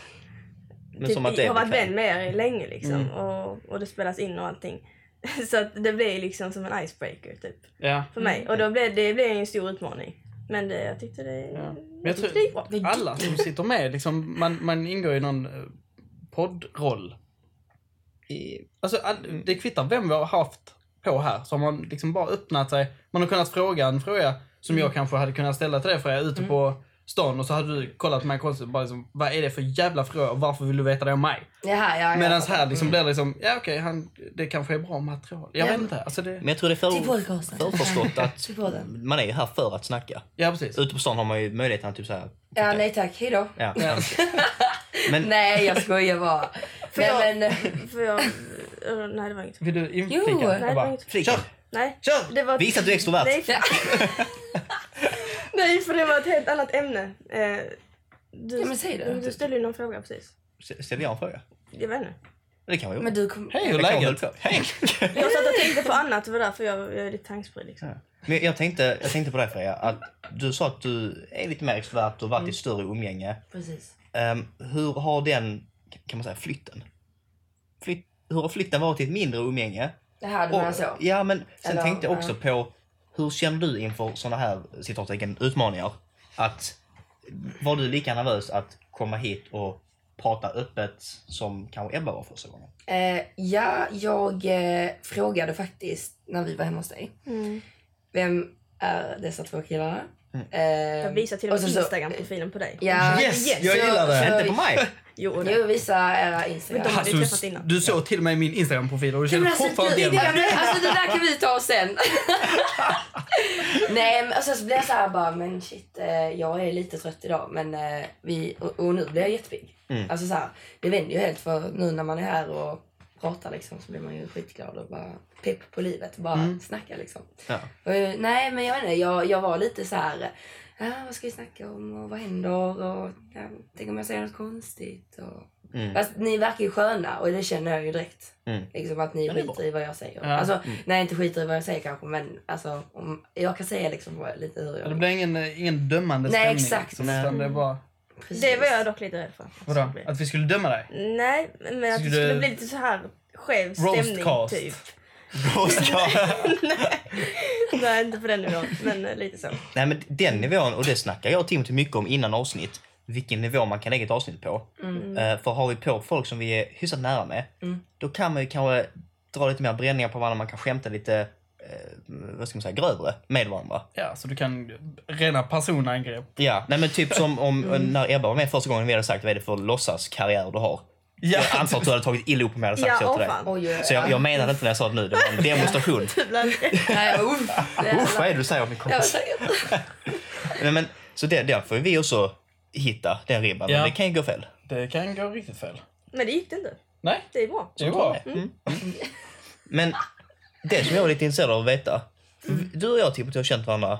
Men typ, som att det har varit bekvämt. vän med er länge liksom och, och det spelas in och allting. (laughs) så att det blir liksom som en icebreaker typ ja. för mig och då blev det blev ju en stor utmaning. Men det, jag tyckte det, Ja. Men jag jag tyckte tror det gick bra. alla som sitter med, liksom, man, man ingår i någon eh, poddroll. I, alltså, Mm. all- det kvittar vem vi har haft på här, så har man liksom bara öppnat sig. Man har kunnat fråga en fråga som Mm. jag kanske hade kunnat ställa till dig Freja ute på stan och så hade du kollat på mig konstigt och bara liksom, vad är det för jävla fråga och varför vill du veta det om mig? Det här, ja, ja. Medan här liksom blir det liksom, ja okej, han, det kanske är bra material. Jag Ja. vet inte. Alltså det, Men jag tror det är Till podcasten. för, (laughs) förförstått att Till podden. man är ju här för att snacka. ja Mm. precis. Ute på stan har man ju möjligheten att typ såhär... Ja, nej tack. Hejdå. Ja. Ja. Men Nej, jag skojar (laughs) bara. nej, men... För jag, (laughs) eh, nej det var inget. Vill du Jo, inflika? Jag Nej det var bara, inget. Flika. Nej. Kör! Det var Visa att du är extrovert. Nej, för- Ja. nej, för det var ett helt annat ämne. Eh, du, Ja, men säg det. Du ställde ju någon fråga precis. Ställde jag en fråga? Jag vet inte. Det kan man ju. Men du kom... Hej, hur är Det kan man läget? väl på. Hej! (laughs) Jag satt och tänkte på annat, det var därför jag, jag är lite tankspridd. Liksom. Men jag tänkte, jag tänkte på det Freja, att du sa att du är lite mer extrovert och Mm. varit i större umgänge. Precis. Ehm, hur har den, kan man säga, flytten? Flytt, hur har flytten varit i ett mindre umgänge? Det här, du menar så? ja, men sen Eller, tänkte jag också ja. på, hur känner du inför sådana här citattecken, utmaningar? Att, var du lika nervös att komma hit och prata öppet som kanske Ebba var första gången? Eh, ja, jag eh, frågade faktiskt när vi var hemma hos dig. Vem är dessa två killarna? Mm. Eh, Jag visade till och och med så- så- Instagram-profilen på dig. Ja, Yes, jag så- gillar det. så- Inte på mig! Jo, det. Jo, visa era Instagram. Men de- hade ju träffat du, innan. du såg till och med min Instagram-profil och du Men kände alltså, fortfarande du- igen det, mig. där- alltså det där kan vi ta (laughs) sen. Nej, men och sen så blev jag så här bara, men shit, eh, jag är lite trött idag. Men eh, vi, och, och nu blir jag jättepigg. Mm. Alltså så här, det vänder ju helt för nu när man är här och pratar liksom så blir man ju skitglad och bara pepp på livet. Bara Mm. snacka liksom. Ja. Och, eh, nej, men jag vet inte, jag, jag var lite så här, ah, vad ska vi snacka om och vad händer och ja, tänk om jag säger något konstigt. Och... Fast ni verkar ju sköna och det känner jag ju direkt. Mm. Liksom att ni det är bra. skiter i vad jag säger. Ja. Alltså, nej inte skiter i vad jag säger kanske men alltså, om, jag kan säga liksom vad- lite hur Det jag... blir ingen, eh, ingen dömande Nej, stämning. exakt. liksom, utan det var, Precis. det var jag dock lite rädd för. vadå? Att vi skulle döma dig? Nej, men att det Skulle skulle du- bli lite så här skev stämning Roastcast. typ. (laughs) (laughs) Roastcast. Nej, inte på den nivån, men eh, lite (laughs) så. Nej men den nivån, och det snackar jag och Timothy mycket om innan avsnitt, vilken nivå man kan lägga ett avsnitt på. Eh, för har vi på folk som vi är hyfsat nära med, då kan man ju kanske dra lite mer bränningar på varandra, man kan skämta lite eh, vad ska man säga, grövre med varandra. Ja, så du kan rena personangrepp. Ja, nej men typ som om när Ebba var med första gången vi hade sagt vad är det för låtsas karriär du har? Ja. Jag antar att du hade tagit illa upp om jag hade sagt Ja, så till åh dig. fan. Oj, oj, oj. Så jag, jag menade inte när jag sa det nu, det var en demonstration. (laughs) Typ. Nej, uff. Det är- Usch, vad är det du säger om min Jag kompis? säger- Nej, men, så det, där får vi också hitta, den ribban. Ja. Det kan ju gå fel. Det kan gå riktigt fel. Men det gick det inte. Nej, Det är bra. det är bra. Men det som jag är lite intresserad av att veta. Du och jag Timothy har känt varandra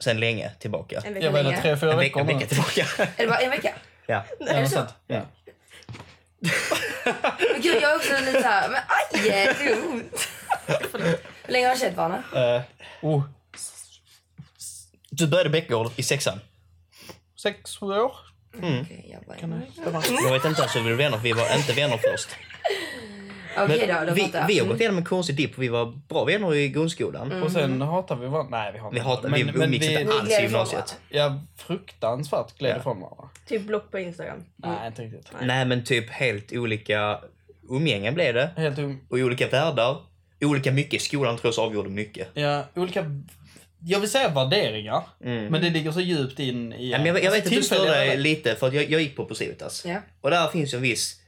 sedan länge tillbaka. En Jag vecka var längre. det tre, fyra En vecka, veckor en nu. vecka tillbaka. Är det bara en vecka? ja. Är det så? Ja. Men gud, jag är också lite såhär, men aj! Det (laughs) gör ont. Hur länge har ni känt varandra? Eh, oh, Du började Bäckgård i sexan. sex, sju år? Mm. Okej, jag bara- Jag vet inte ens hur vi blev vänner, för vi var inte vänner först. Okej då, då vi, fattar vi har jag. gått igenom en konstig dipp, för vi var bra vänner i grundskolan. Och sen hatar vi varandra. Nej, vi hatar Mm. Vi, hatar, varandra. vi umgicks vi, inte Vi alls gled i gymnasiet. Ja, fruktansvärt gled Ja. Mm. ifrån varandra. Typ block på Instagram. Nej, inte riktigt. Nej men typ helt olika umgängen blev det. Helt um... Och i olika världar. Olika mycket i skolan tror jag så avgjorde mycket. Ja, olika... Jag vill säga värderingar, men det ligger så djupt in i... Mm. Alltså, Ja, men jag, jag vet att du stör Tillfälliga dig värderingar. lite för att jag, jag gick på Posivitas. Ja. Och där finns ju en viss...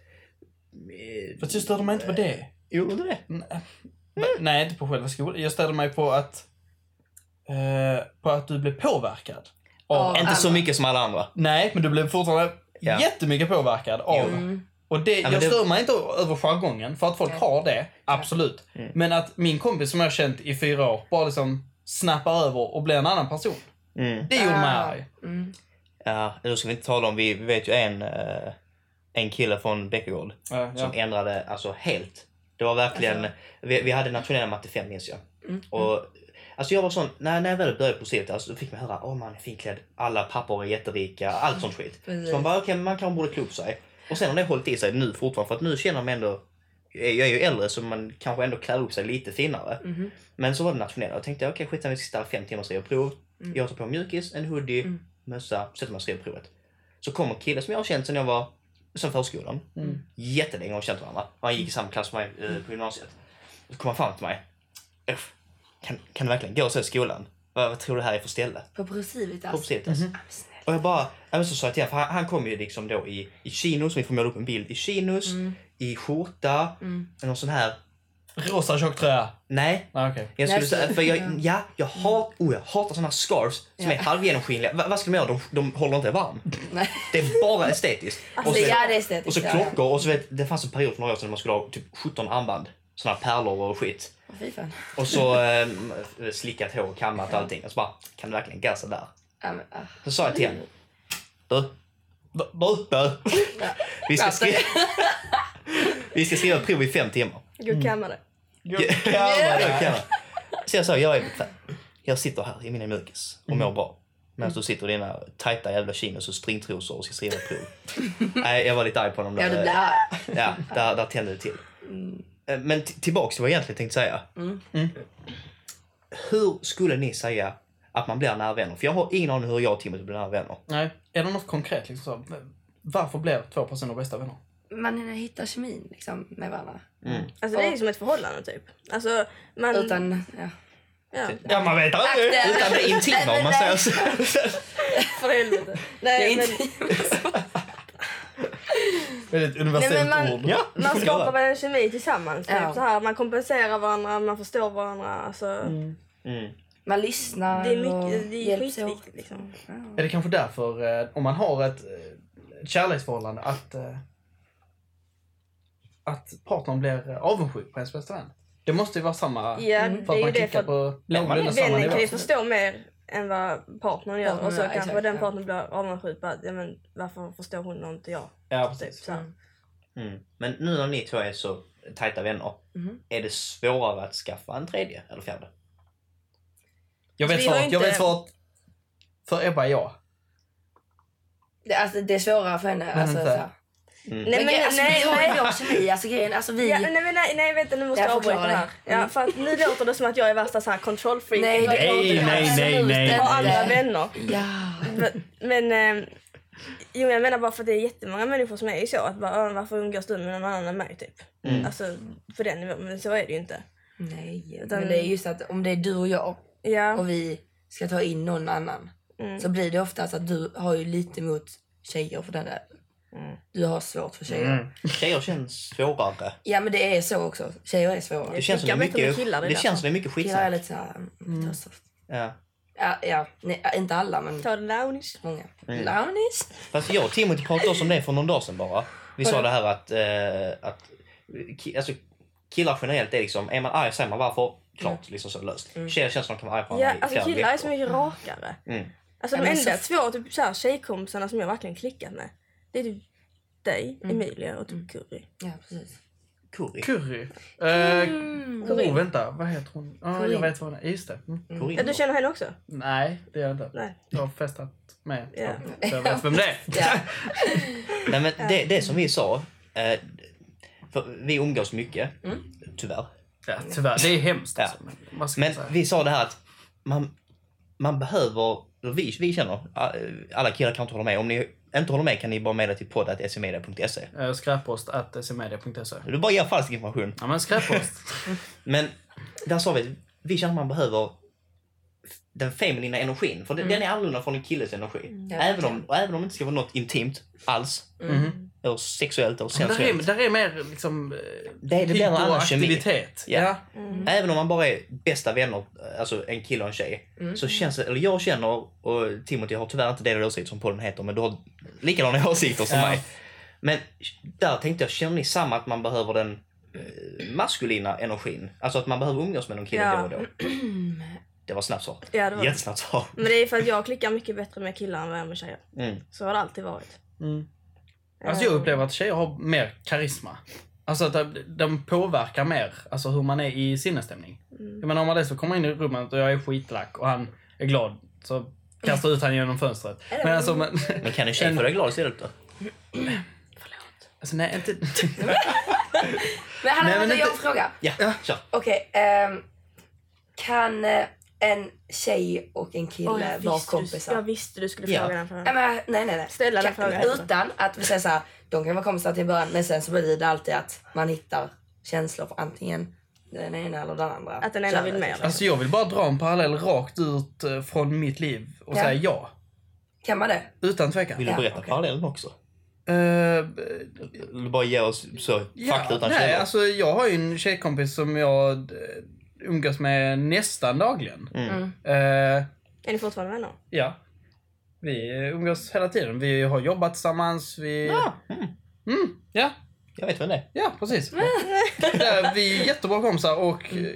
Fast jag störde mig inte på det. Gjorde du det? Nej, inte på själva skolan. Jag ställer mig på att... Eh, på att du blev påverkad. Av, Ja. Inte så mycket som alla andra. Nej, men du blev fortfarande Ja. jättemycket påverkad av Och det, men jag det- stör mig inte över jargongen, för att folk Nej. har det, absolut. Men att min kompis som jag har känt i fyra år bara liksom snappar över och blir en annan person. Mm. Det gjorde mig Ah. arg. Mm. Ja, då ska vi inte tala om, vi, vi vet ju en, eh, en kille från Bäckegård Ja, ja. som ändrade alltså helt. Det var verkligen, vi, vi hade nationella matte 5 minns jag. mm. Och, alltså jag var sån, när, när jag väl började på CET, alltså, då fick man höra åh man är finklädd, alla pappor är jätterika, allt sånt skit. Precis. Så man bara okej, men man kanske borde klä upp sig. Och sen har det hållit i sig nu fortfarande, för att nu känner man ändå, jag jag är ju äldre så man kanske ändå klär upp sig lite finare. Mhm. Men så var det nationella. Jag tänkte okej skitsamma, vi ska sitta fem timmar och skriva prov. Jag tar på mig mjukis, en hoodie, mössa, sätter mig och skriver provet. Så kommer en kille som jag har känt sedan jag var, sedan förskolan. Jättelänge har vi känt varandra. Och han gick i samma klass som mig eh, på gymnasiet. Så kom han fram till mig. "Uff, Kan, kan du verkligen gå så i skolan? Vad, vad tror du det här är för ställe? På Procivitas. På Procivitas. Ah, men snälla. Och jag bara, ja, men så sa jag till honom, för han, han kom ju liksom då i, i chinos, vi får måla upp en bild i chinos, i skjorta, någon sån här, Rosa tjocktröja. nej, Ah, okay. jag skulle Nej, säga, så- för jag, ja, jag, Mm. hat, oh, jag hatar såna här scarves som är halvgenomskinliga. Va, vad ska de göra? De, de håller inte varm. Nej. Det är (laughs) bara estetiskt. och, så, Alltså, ja, det är estetiskt. och så ja. klockor och så vet, det fanns en period för några år sedan när man skulle ha typ 17 armband. Såna här pärlor och skit. Åh, Fy fan. Och så eh, Mm. slickat hår, kammat och allting. Och så bara, kan du verkligen gassa där? Ja, men, ah. Så sa jag till henne. Du. du, Du. Du. (laughs) Vi ska Alltså. skriva, (laughs) vi ska skriva prov i fem timmar. Gud kammare. Jag kan. (laughs) Så jag sa, jag är bekväm. Jag sitter här i mina mjukis och mår bra. Medan du sitter i dina tajta jävla chinos och stringtrosor och ska skriva prov. Nej, jag var lite arg på honom Ja, där. Eh. det blir arg. Ja, där, där tände det till. Eh, Men t- tillbaks till vad jag egentligen tänkte säga. Mm. Hur skulle ni säga att man blir nära vänner? För jag har ingen aning hur jag och Timothy blir nära vänner. Nej. Är det något konkret? Liksom, så? Varför blev två personer bästa vänner? Man hittar kemin liksom, med varandra. Alltså det är ju som ett förhållande typ. Alltså man... Utan, ja. Ja, Ja, man vet Akta. Utan det intima om man säger så. (laughs) för helvete. Det Nej, är men, inte... Väldigt universellt Nej, men man- ord. Ja. man skapar väl en kemi tillsammans. Typ. Ja. Så här, man kompenserar varandra, man förstår varandra. Alltså, Mm. Man lyssnar Det är, och mycket, det är hjälps åt. skitviktigt liksom. Är det kanske därför, eh, om man har ett, eh, ett kärleksförhållande, att, eh, att partnern blir eh, avundsjuk på ens bästa vän? Det måste ju vara samma... Ja, Mm. det För att är ju man det. klickar För på någorlunda samma vännen nivå. kan ju förstå mer än vad partnern gör. Partnern Och så gör, kanske exakt, den ja. partnern blir avundsjuk på att ja, men, varför förstår hon och inte jag? Ja, Typ, precis. så liksom. här. Mm. Men nu när ni två är så tajta vänner, Mm. Mhm. är det svårare att skaffa en tredje eller fjärde? Jag vet Alltså, Vi har svaret. Jag inte- vet svaret. För Ebba är jag. Det, alltså, det är svårare för henne. Alltså, vänta. så här. Mm. Nej, men, grejen- alltså, nej, vi har ju nej. vår kemi. Alltså, grejen, alltså, vi... Ja, nej, men, nej, nej vänta nu måste Jag jag avbryta förklarar det här. det. Mm. Ja, för att nu låter det som att jag är värsta så här kontrollfreak. Nej, Jag har inte- nej, nej, nej, nej. Jag har andra vänner. Ja. Men, men eh, jo, jag menar bara för att det är jättemånga människor som är ju så. Att bara, "Ah, varför umgås du med någon annan än mig? Typ. Alltså på den nivån. Men så är det ju inte. Nej, Utan- men det är just att om det är du och jag Ja, och vi ska ta in någon annan Mm. så blir det oftast att du har ju lite mot tjejer för den där. Mm. Du har svårt för tjejer. Mm. Tjejer känns svårare. Ja men det är så också. Tjejer är svårare. Det känns som det klickar är bättre mycket, med killar, det det där. känns som det är mycket Killar är skitsnack. lite såhär... mm, ta soft. Ja. Ja, ja. Nej, inte alla men ta det lownish. många. Launis? Fast jag och Timothy pratade också om det för någon dag sedan bara. Vi sa det här att, eh, att ki- alltså, killar generellt är liksom, är man arg säger man varför. Klart, liksom så löst. Tjejer känns som de kan vara arga på Mm. Ja, varandra i alltså flera killar är så veckor. mycket rakare. Mm. Alltså de Ja, men enda så- två typ, så här, tjejkompisarna som jag verkligen klickat med. Det är typ dig, Emilia och typ Curry. Ja precis. Curry. Curry. Eh, Curry. oh, vänta. Vad heter hon? Ja, Curry. jag vet vad hon är. Just det. Mm. Curry. Ja, du känner henne också? Nej, det gör jag inte. Nej. Jag har festat med Ja. så jag vet vem det är. Ja. Nej, men det, det som vi sa, eh, för vi umgås mycket, Mm. tyvärr. Ja, tyvärr. Det är hemskt. Alltså. Ja. Men Vad ska Men jag säga? vi sa det här att man, man behöver, eller vi, vi känner, alla killar kan inte hålla med. Om ni inte håller med kan ni bara mejla till podd.smedia.se. Eh, Skräppost att smedia.se. e. Du bara ger falsk information. Ja, (laughs) men skräppost. Men där sa vi att vi känner att man behöver den feminina energin. För den, den är annorlunda från en killes energi. Även, om, och även om det inte ska vara något intimt alls. Mm. Eller sexuellt eller Men där, är, sensuellt. där är mer liksom... eh, Det- det blir en annan kemi. hyperaktivitet. Ja. Ja. Mm. Även om man bara är bästa vänner, alltså en kille och en tjej. Så känns det, eller jag känner, och Timothy har tyvärr inte delade åsikter som podden heter, men du har likadana (laughs) åsikter som Ja. mig. Men där tänkte jag, känner ni samma att man behöver den eh, maskulina energin? Alltså att man behöver umgås med någon kille Ja. då och då? Det var snabbt svar. Ja, det var det. Jättesnabbt svar. Men det är för att jag klickar mycket bättre med killar än vad jag gör med tjejer. Mm. Så har det alltid varit. Eh, Alltså jag upplever att tjejer har mer karisma. Alltså att de- de påverkar mer, alltså hur man är i sinnesstämning. Mm. Jag menar om man dessutom kommer in i rummet och jag är skitlack och han är glad så kastar jag ut han genom fönstret. Men alltså, men, (laughs) Men kan en tjej få dig glad istället då? alltså nej inte... (laughs) Men hallå, Nej, men vänta, jag har en inte- fråga. Ja, kör. Okej, ehm, kan eh, en tjej och en kille Åh, jag, vara visste du, kompisar? jag visste du skulle Ja. fråga den Nej, frågan. men, nej, nej, nej. Ställa den Kan- frågan. Utan att vi säger så här, de kan vara kompisar till början men sen så blir det alltid att man hittar känslor för antingen den ena eller den andra. Att den ena vill könet, mer. liksom. Alltså jag vill bara dra en parallell rakt ut eh, från mitt liv och Ja. säga ja. Kan man det? Utan tvekan. Vill du Ja, berätta okej. parallellen också? Eh, Vill du bara ge oss så, fakta utan nej, källor? alltså jag har ju en tjejkompis som jag eh, umgås med nästan dagligen. Mm. Eh, Är ni fortfarande vänner? ja. Vi eh, umgås hela tiden. Vi har jobbat tillsammans. Vi... Ja, mm. Mm, ja, Jag vet vem det är. ja, precis. Där, vi är jättebra kompisar och eh,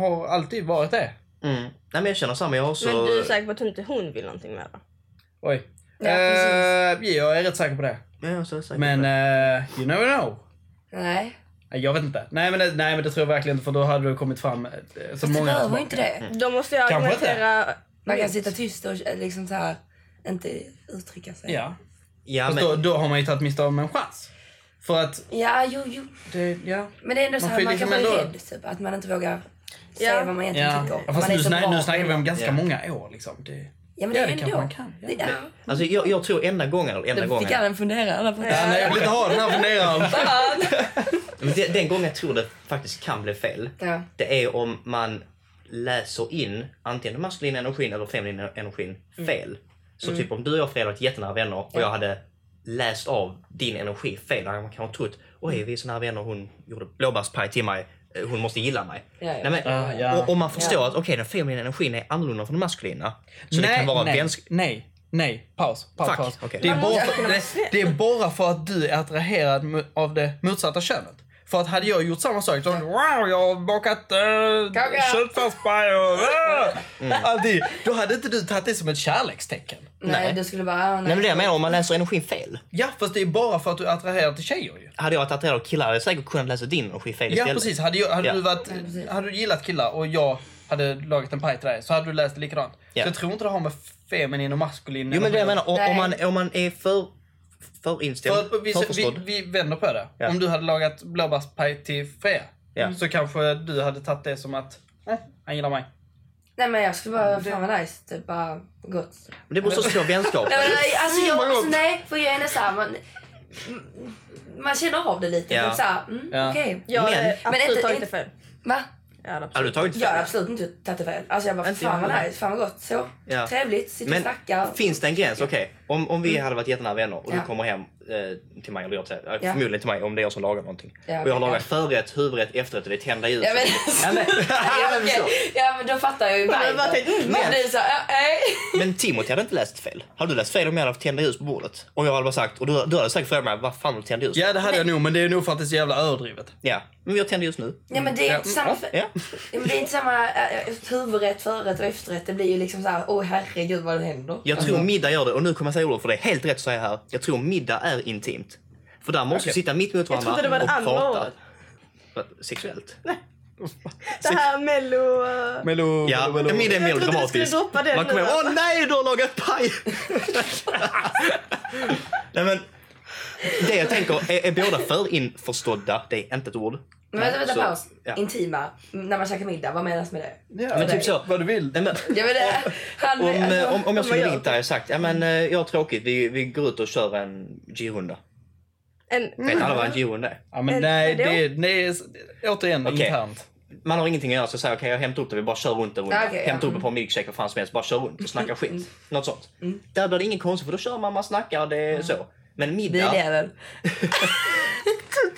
har alltid varit det. Mm. Nej, men jag känner samma. Jag har också... Men du är säker på att hon inte hon vill någonting med va? Oj. Ja, eh, jag är rätt säker på det. Ja, jag är så säker Men på det. eh, you never know. Nej. Nej, Jag vet inte. Nej men, det, nej men det tror jag verkligen inte för då hade du kommit fram eh, så Fast det många behöver tillbaka. ju inte det. Då måste jag Kanske inte. argumentera... Man kan sitta tyst och eh, liksom så här, inte uttrycka sig. Ja. Ja, Fast men... då, då har man ju tagit miste av en chans. För att Ja, jo, jo. det, ja. Men det är ändå så Man här, får ju man kan vara liksom ändå- rädd typ, att man inte vågar säga Ja. vad man egentligen Ja. tycker. Ja, man fast är nu, så snar, bra nu på snackar vi det. om ganska Ja. många år liksom. Det, Ja, men Ja, det det är kanske ändå... man kan, ja. Det, ja. Alltså, jag, jag tror enda gången, eller enda Då gången... fick jag den fundera. Eller? på- ja, nej, jag vill inte ha den här funderaren. Men Den, den gången jag tror det faktiskt kan bli fel, Ja. det är om man läser in antingen den maskulina energin eller feminina energin Mm. fel. Så typ om du och jag Fredrik varit jättenära vänner och jag hade läst av din energi fel, hade man kan ha trott oj vi är så nära vänner, hon gjorde blåbärspaj till mig, eh, hon måste gilla mig. Ja, Nej, ja. men, Ah, ja. och, om man förstår att okej den feminina energin är annorlunda från den maskulina, så det nej, kan vara nej, vänsk... nej, nej. Paus. paus, Fuck, paus. okej. Det, är Man bara måste för, kunna det, vara snäll. det är bara för att du är attraherad mu- av det motsatta könet. För att hade jag gjort samma sak så wow, jag har bakat Kaka. äh, köttfärspaj och äh, allting. Då hade inte du tagit det som ett kärlekstecken. Nej, Nej. du skulle bara... ah, Nej men det jag menar om man läser energin fel. Ja, fast det är bara för att du är attraherad till tjejer ju. Hade jag varit attraherad av killar hade jag säkert kunnat läsa din energi fel Ja istället. precis, hade, jag, hade, Ja. Du varit, precis. hade du gillat killar och jag hade lagat en paj till dig så hade du läst det likadant. Ja. Så jag tror inte det har med feminin och maskulin Jo men det jag menar, om, om, Nej. man, om man är för, för inställd, för, att vi, vi, förförstådd. vi vänder på det. Ja. Om du hade lagat blåbärspaj till Freja Ja. så kanske du hade tagit det som att eh, han gillar mig. Nej men jag skulle bara, fan vad nice, typ bara gott. Men det måste också vara vänskap. Nej, men, alltså, jag, vad gott. alltså, nej, för jag är nästan man, man känner av det lite. Ja. Typ såhär, mm, Ja. okej. Jag Men- har Men absolut tagit inte- det inte- fel. Va? Jag hade Har absolut. du tagit Jag har fel? absolut inte tagit det fel. Alltså jag bara, Inte fan jag vad heller. nice, fan vad gott. Så Ja. trevligt, sitter och Men snackar. Mm. finns det en gräns? Okej, om, om vi hade varit jättenära vänner och Ja. du kommer hem eh, till mig, eller jag till, eh, Ja. förmodligen till mig om det är jag som lagar någonting. Ja, och jag har okej, lagat förrätt, huvudrätt, efterrätt och det är tända ljus. Ja (laughs) men, Ja, men, ja, men, så. okej. (laughs) ja, men då fattar jag ju men vad tänkte du? viben. Man Men- blir såhär, ja, nej. men Timothy hade inte läst fel. Hade du läst fel om jag hade haft tända ljus på bordet? Om jag hade bara sagt, och du, du hade säkert frågat mig, vad fan har du tända ljus? Ja det hade jag nog men det är nog för att det är så jävla överdrivet. ja, men vi har tända ljus nu. Ja men det är inte Ja, samma, ja. för, Mm. Ja. ja, men det är inte samma äh, huvudrätt, förrätt och efterrätt. Det blir ju liksom såhär, åh herregud vad det händer. Alltså, Jag Alltså- tror middag gör det, och nu kommer jag säga ordet för det är helt rätt att säga här. Jag tror middag är intimt. För där måste vi sitta mitt mot Jag varandra trodde det var det och andra prata. ordet. Vad, Sexuellt? Det här mello... eh, Melo, Ja, men det är Jag trodde mer du skulle dramatiskt. droppa den Man kommer nu, ihåg, alltså. åh nej, du har lagat (laughs) paj! nej men, det jag tänker är, är båda för införstådda, det är inte ett ord. Men vänta, vänta, Så, paus. ja. Intima, när man käkar middag, vad menas med det? Ja, Men typ så. Vad du vill. Nej, men, Ja, men det, (laughs) han, alltså, om, eh, om, om jag skulle gör ringt dig och sagt, ja men eh, jag har tråkigt, vi, vi går ut och kör en G-runda. En... Mm. Vet alla vad en G-runda är? Ja, men Men nej, vadå? det, det är återigen Okej. internt. Man har ingenting att göra så säger jag, okej jag hämtar upp det, vi bara kör runt en runda. Ja, okej, ja. Mm. hämtar upp det på en milkshake vad fan som helst, bara kör runt och snacka skit. Något sånt. Mm. Där blir det ingen konstigt för då kör man, man snackar, det är så. Men middag, Biljevel.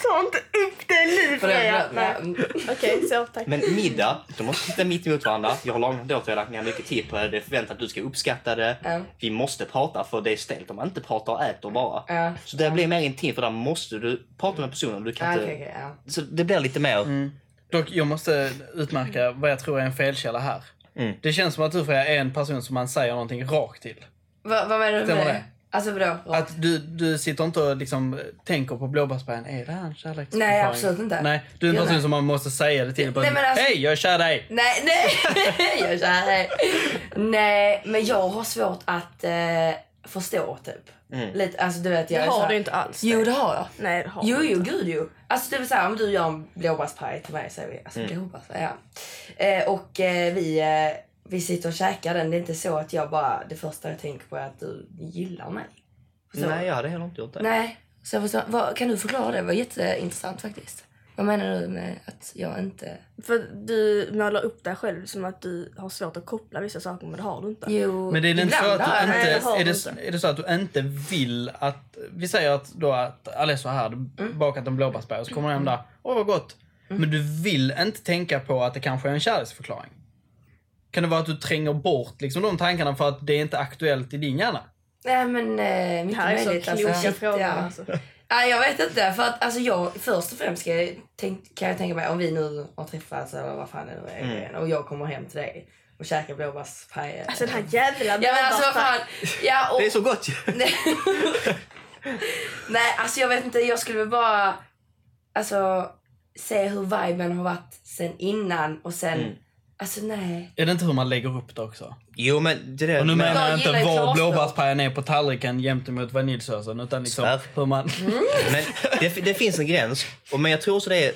Ta inte upp det nu För det, Freja! Nej. Okej, så tack. Men middag, de måste sitta mitt emot varandra. Jag har lagat åt dig, jag har lagt ner mycket tid på det. Det är förväntat att du ska uppskatta det. Ja. Vi måste prata för det är stelt om man inte pratar och äter bara. Ja. Så det blir mer intimt för där måste du prata med personen. Du kan Ja, inte... okej, okej, Mm. ja. Så det blir lite mer... Dock, jag måste utmärka vad jag tror är en felkälla här. Mm. Det känns som att du Freja är en person som man säger någonting rakt till. Vad vad menar du Stämmer med det? det? Alltså vadå? Att du, du sitter inte och liksom tänker på blåbärsbergen. Är det här en kärleksförklaring? Nej, absolut inte. Nej, du är en Jo, person nej. som man måste säga det till. Bara, Nej, men alltså- Hej, jag är kär i dig! Nej, nej! (laughs) jag kör dig. Nej, men jag har svårt att eh, förstå typ. Mm. Lite, alltså du vet, jag Det är så har här- du inte alls. Jo, det har jag. Nej, det har Jo, du jo, gud jo. Alltså det vill säga om du gör en blåbärspaj till mig så är vi, alltså Mm. blåbärspaj, ja. Eh, och eh, vi, eh, vi sitter och käkar den. Det är inte så att jag bara, det första jag tänker på är att du gillar mig. Förstår du? Nej, jag hade heller inte gjort det. Nej. Så jag förstår, vad, kan du förklara det? Det var jätteintressant faktiskt. Vad menar du med att jag inte... För du målar upp dig själv som att du har svårt att koppla vissa saker men det har du inte. Jo, Men det är det inte så ibland att har du jag Nej, det inte, har är du det, är det så att du inte vill att... Vi säger att, då att Alesso har bakat en blåbärsberg och så kommer han hem där. Åh, vad gott! Men du vill inte tänka på att det kanske är en kärleksförklaring. Kan det vara att du tränger bort liksom, de tankarna för att det är inte aktuellt i din hjärna? Nej men eh, Det mycket här är så möjligt. kloka Alltså, Shit, frågor. ja. Alltså. Nej, jag vet inte. För att, alltså, jag, först och främst ska jag tänk, kan jag tänka mig om vi nu har träffats eller vad fan det nu är Mm. och jag kommer hem till dig och käkar blåbärspaj. alltså den här jävla Ja men alltså vad fan. (laughs) Ja, och, Det är så (laughs) gott ju! Nej. Nej, alltså jag vet inte. Jag skulle väl bara alltså, se hur viben har varit sen innan och sen... Mm. Alltså nej. Är det inte hur man lägger upp det också? Jo, men det där... Och nu menar jag Jag inte gillar ju var klarspråk. blåbärspajen är på tallriken gentemot vaniljsåsen utan liksom Svär. hur man... Men det, det finns en gräns. Och, men jag tror så det är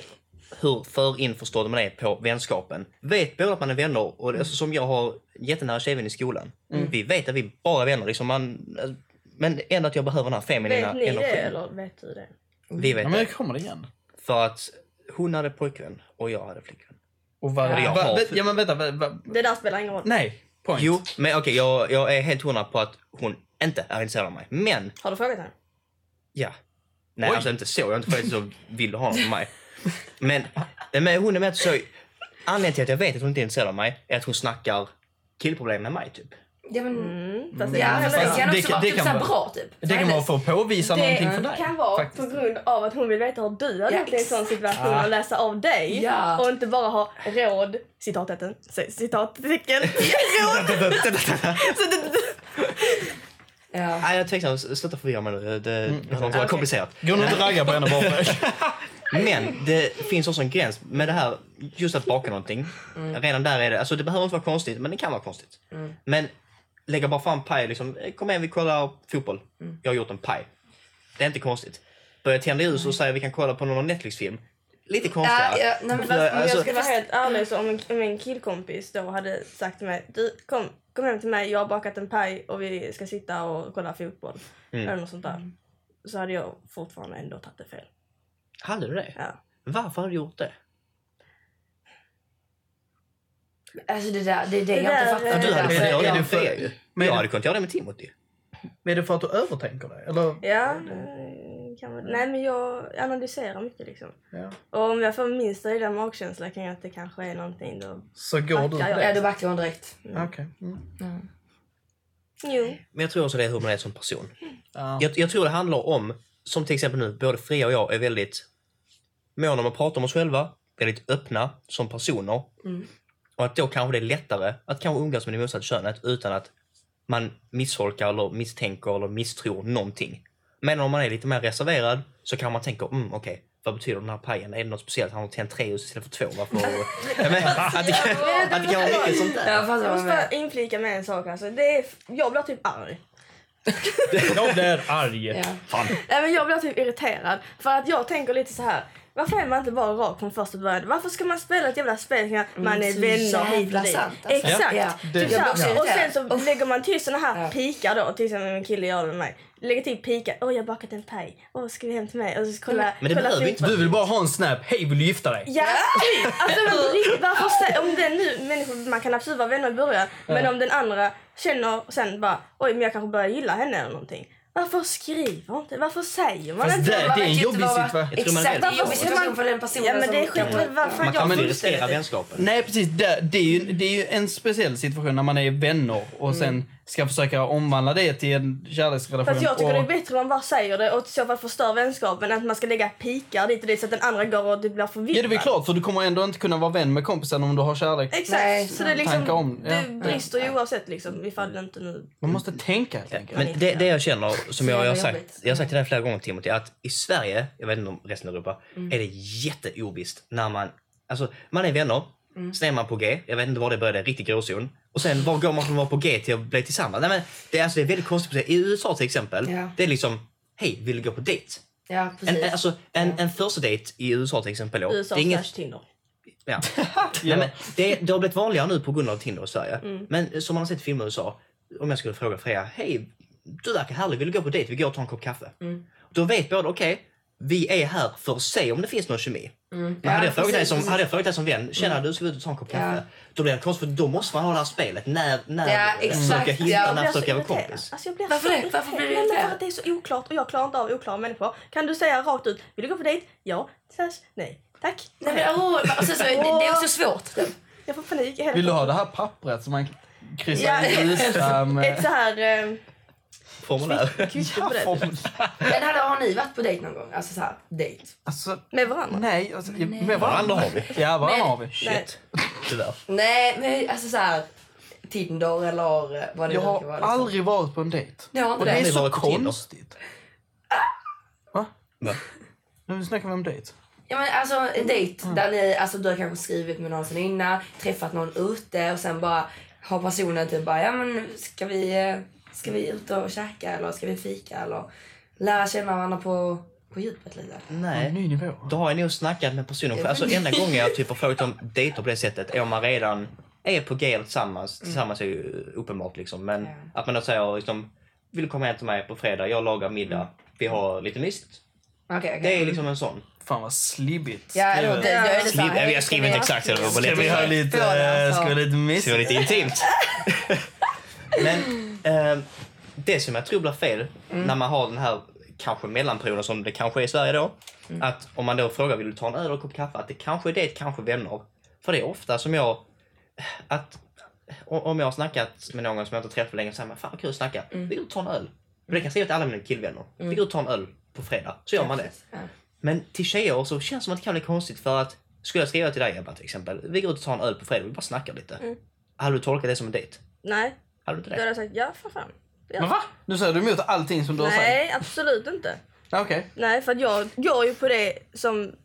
hur förinförstådd man är på vänskapen. Vet både att man är vänner, och det, alltså, som jag har en jättenära tjejvän i skolan. Mm. Vi vet att vi bara är vänner. Liksom man, men ändå att jag behöver den här feminina Vet ni det energin. eller vet du det? Vi vet Ja, men det. jag kommer det igen. För att hon hade pojkvän och jag hade flickvän. Och vad, Ja. ja. Jag Va, har- ja men vänta, va, va, Det där spelar ingen roll. nej. Point. Jo, men okej, jag, jag är helt hundra på att hon inte är intresserad av mig. Men, Har du frågat henne? ja. Nej, Oj. alltså inte så. Jag har inte frågat så vill du ha någon av mig? Men, men hon är med så... Anledningen till att jag vet att hon inte är intresserad av mig är att hon snackar killproblem med mig, typ. Ja, men, Mm. Fast det ja, kan men väl det vara. kan Det också kan- vara det typ kan så här vara- bra typ. Det kan Nej, vara för att påvisa någonting för dig. Det kan vara faktiskt. på grund av att hon vill veta hur du har Ja, levt i en sån situation Ah. och läsa av dig. Ja. Och inte bara ha råd, citattecken, c- citattecken, Ja. Nej, jag är tveksam. Sluta förvirra mig nu. Det behöver inte vara Okej. komplicerat. Gå nu inte och ragga på henne bara. (laughs) Men det finns också en gräns med det här, just att baka någonting. Mm. Redan där är det, alltså det behöver inte vara konstigt, men det kan vara konstigt. Men lägga bara fram paj, liksom, eh, kom igen vi kollar fotboll. Mm. Jag har gjort en paj. Det är inte konstigt. Börja tända ljus och säga vi kan kolla på någon Netflix-film. Lite konstigare. Mm. Ja, ja, nej, men vad- Börja- men jag Om alltså, jag ska vara helt ärlig så om en, om en killkompis då hade sagt till mig du kom, kom hem till mig, jag har bakat en paj och vi ska sitta och kolla fotboll. Eller något sånt där. Så hade jag fortfarande ändå tagit det fel. Hade du det? Ja. Varför har du gjort det? Alltså det där, det är det, Det jag inte där, fattar. Alltså, eh, Du hade men- kunnat göra ja, det för men- dig. men- Jag hade kunnat göra det med Timothy. Men är det för att du övertänker det? Eller? Ja, eh, kan man, nej men jag analyserar mycket liksom. Ja. Och om jag får minsta lilla magkänsla kan jag att det kanske är någonting då. Så går du på Backar jag. Ja, det? då backar hon direkt. Okej. Mm. Jo. Men jag tror också det är hur man är som person. Ja. Jag, jag tror det handlar om, som till exempel nu, både Freja och jag är väldigt måna om att prata om oss själva, väldigt öppna som personer. Och att då kanske det är lättare att kanske umgås med det motsatta könet utan att man misstolkar eller misstänker eller misstror någonting. Men om man är lite mer reserverad så kan man tänka, mm, okej, vad betyder den här pajen? Är det något speciellt? Han har tänt tre ljus istället för två. Varför? ja, men, att, det kan, att det kan vara mycket sånt där. Jag Jag fattar vad måste hon bara menar. inflika med en sak alltså. Det är, jag blir typ arg. Jag blir arg. Ja. Fan. Nej, men jag blir typ irriterad. För att jag tänker lite så här. Varför är man inte bara rak från första början? Varför ska man spela ett jävla spel kring att man är så vänner hit jävla och dit? sant, alltså. Exakt. Ja. Typ så Det- Jag blir här. också Och sen irriterad. så lägger man till såna här Ja. pikar då, till exempel min kille gör det med mig. Lägger till pikar. Åh, jag har bakat en paj. Åh, ska vi hem till mig? Och så kolla, Men det kolla behöver fotboll. inte Du vill bara ha en snap. Hej, vill du gifta dig? Ja, typ. Alltså men på riktigt, varför sä- om den nu människan, man kan absolut vara vänner i början, men om den andra känner sen bara oj men jag kanske börjar gilla henne eller någonting. Varför skriver inte? Varför säger man Fast inte? det, det är en verkar jobbig inte vara- situation. tror man är Exakt, det är en rädd. jobbig situation för den personen Ja men det är som... skit varför Man jag kan väl fullständigt- riskera vänskapen? Nej precis, det, det, är ju, det är ju en speciell situation när man är vänner och sen ska försöka omvandla det till en kärleksrelation. Mm. Fast jag tycker det och, är bättre om man bara säger det och i så fall förstör vänskapen än att man ska lägga pikar dit och dit så att den andra går och det blir förvirrad. Ja det är väl klart, för du kommer ändå inte kunna vara vän med kompisen om du har kärlek. Exakt, Nej, så det, är liksom, Tankar om- ja. det brister ju oavsett liksom ifall det inte nu... Man måste tänka helt enkelt. Men det, det jag känner, som Så jag, jag, har jävla sagt, jobbigt. Mm. jag har sagt till dig flera gånger Timothy, att i Sverige, jag vet inte om resten av Europa, Mm. är det jätteovisst när man, alltså man är vänner, Mm. sen är man på G, jag vet inte var det började, riktigt gråzon. Och sen var går man från att vara på G till att bli tillsammans? Nej, men det, är, alltså, det är väldigt konstigt. I USA till exempel, Ja. det är liksom, hej, vill du gå på dejt? Ja, En, en- precis. alltså, en, en första dejt i USA till exempel, då, USA det är inget slash Tinder. (laughs) Ja. Nej, men det, det har blivit vanligare nu på grund av Tinder i Sverige. Mm. Men som man har sett i filmer i USA, om jag skulle fråga Freja, hej, du verkar härlig, vill du gå på dejt? Vi går och tar en kopp kaffe. Mm. Då vet båda, okej, vi är här för att se om det finns någon kemi. Men hade, Mm. Ja, jag frågat dig precis, som, precis. Mm. hade jag frågat dig som vän, tjena du ska vi ut och ta en kopp kaffe? Ja. Då blir det konstigt för då måste man ha det här spelet. När, när Ja, försöka exakt, hitta, ja. Jag när blir så försöka vara irriterad. kompis. Alltså, jag blir Varför så det? Varför blir du irriterad? Nej, men irriterad? För att det är så oklart och jag klarar inte av oklara människor. Kan du säga rakt ut, vill du gå på dejt? Ja, slash nej. Tack. Nej, men, åh, och sen så, det, det är också svårt. Jag får panik. Jag Vill du ha det här pappret som man kryssar Ja. in (laughs) ja. Ett med? så här (laughs) eh, Formulär. (laughs) kvitto på det. Men hade, har ni varit på dejt någon gång? Alltså så här, dejt. Alltså, Med varandra. nej. Alltså, Med varandra. Varandra har vi. Ja, varandra har vi. Nej. Shit. Tyvärr. Nej, men alltså så här, Tinder eller eh, vad det Jag nu har kan vara. liksom. aldrig varit på en dejt. Ni har Och inte det är aldrig det? så varit på Tinder. konstigt. Va? Va? Nu snackar vi om dejt. Ja, men alltså en dejt där ni, alltså du har kanske skrivit med någon sen innan, träffat någon ute och sen bara har personen typ bara, ja men ska vi, eh, ska vi ut och käka eller ska vi fika eller lära känna varandra på, på djupet lite. Nej. En ny nivå. Då har jag nog snackat med personen själv. Alltså enda gången jag typ har frågat (laughs) om dejter på det sättet är om man redan är på G eller tillsammans. Tillsammans är ju uppenbart liksom. Men Mm. Ja. att man då säger liksom, vill du komma hem till mig på fredag? Jag lagar Mm. middag. Vi har lite mysigt. Okej, Det okej. är liksom en sån. Fan vad slibbigt. Ja, skrivet. det, det, jag är lite så Skriv, här, jag skriver inte exakt det. Ska var Ska vi ha lite, lite, Få det, eh, alltså. ska vi ha lite det var mysigt? lite intimt. (laughs) Men eh, det som jag tror blir fel när man har den här kanske mellanperioden som det kanske är i Sverige då. Att om man då frågar vill du ta en öl och en kopp kaffe? Att det kanske är det, kanske vänner. För det är ofta som jag att o- om jag har snackat med någon som jag inte har träffat på länge så säger man fan vad kul att snacka. Vi går ut och tar en öl. Och det kan jag säga till alla mina killvänner. Vi går ut och tar en öl på fredag. Så gör man det. Ja. Men till tjejer så känns det som att det kan bli konstigt för att skulle jag skriva till dig Ebba till exempel. Vi går ut och tar en öl på fredag och vi bara snackar lite. Hade du tolkat det som en dejt? Nej, Hade du inte då det? hade jag sagt ja för fan. Ja. Men va? Nu säger du emot allting som du har sagt? Nej, absolut inte. Ja, Okej. Nej, för att jag går ju på det som,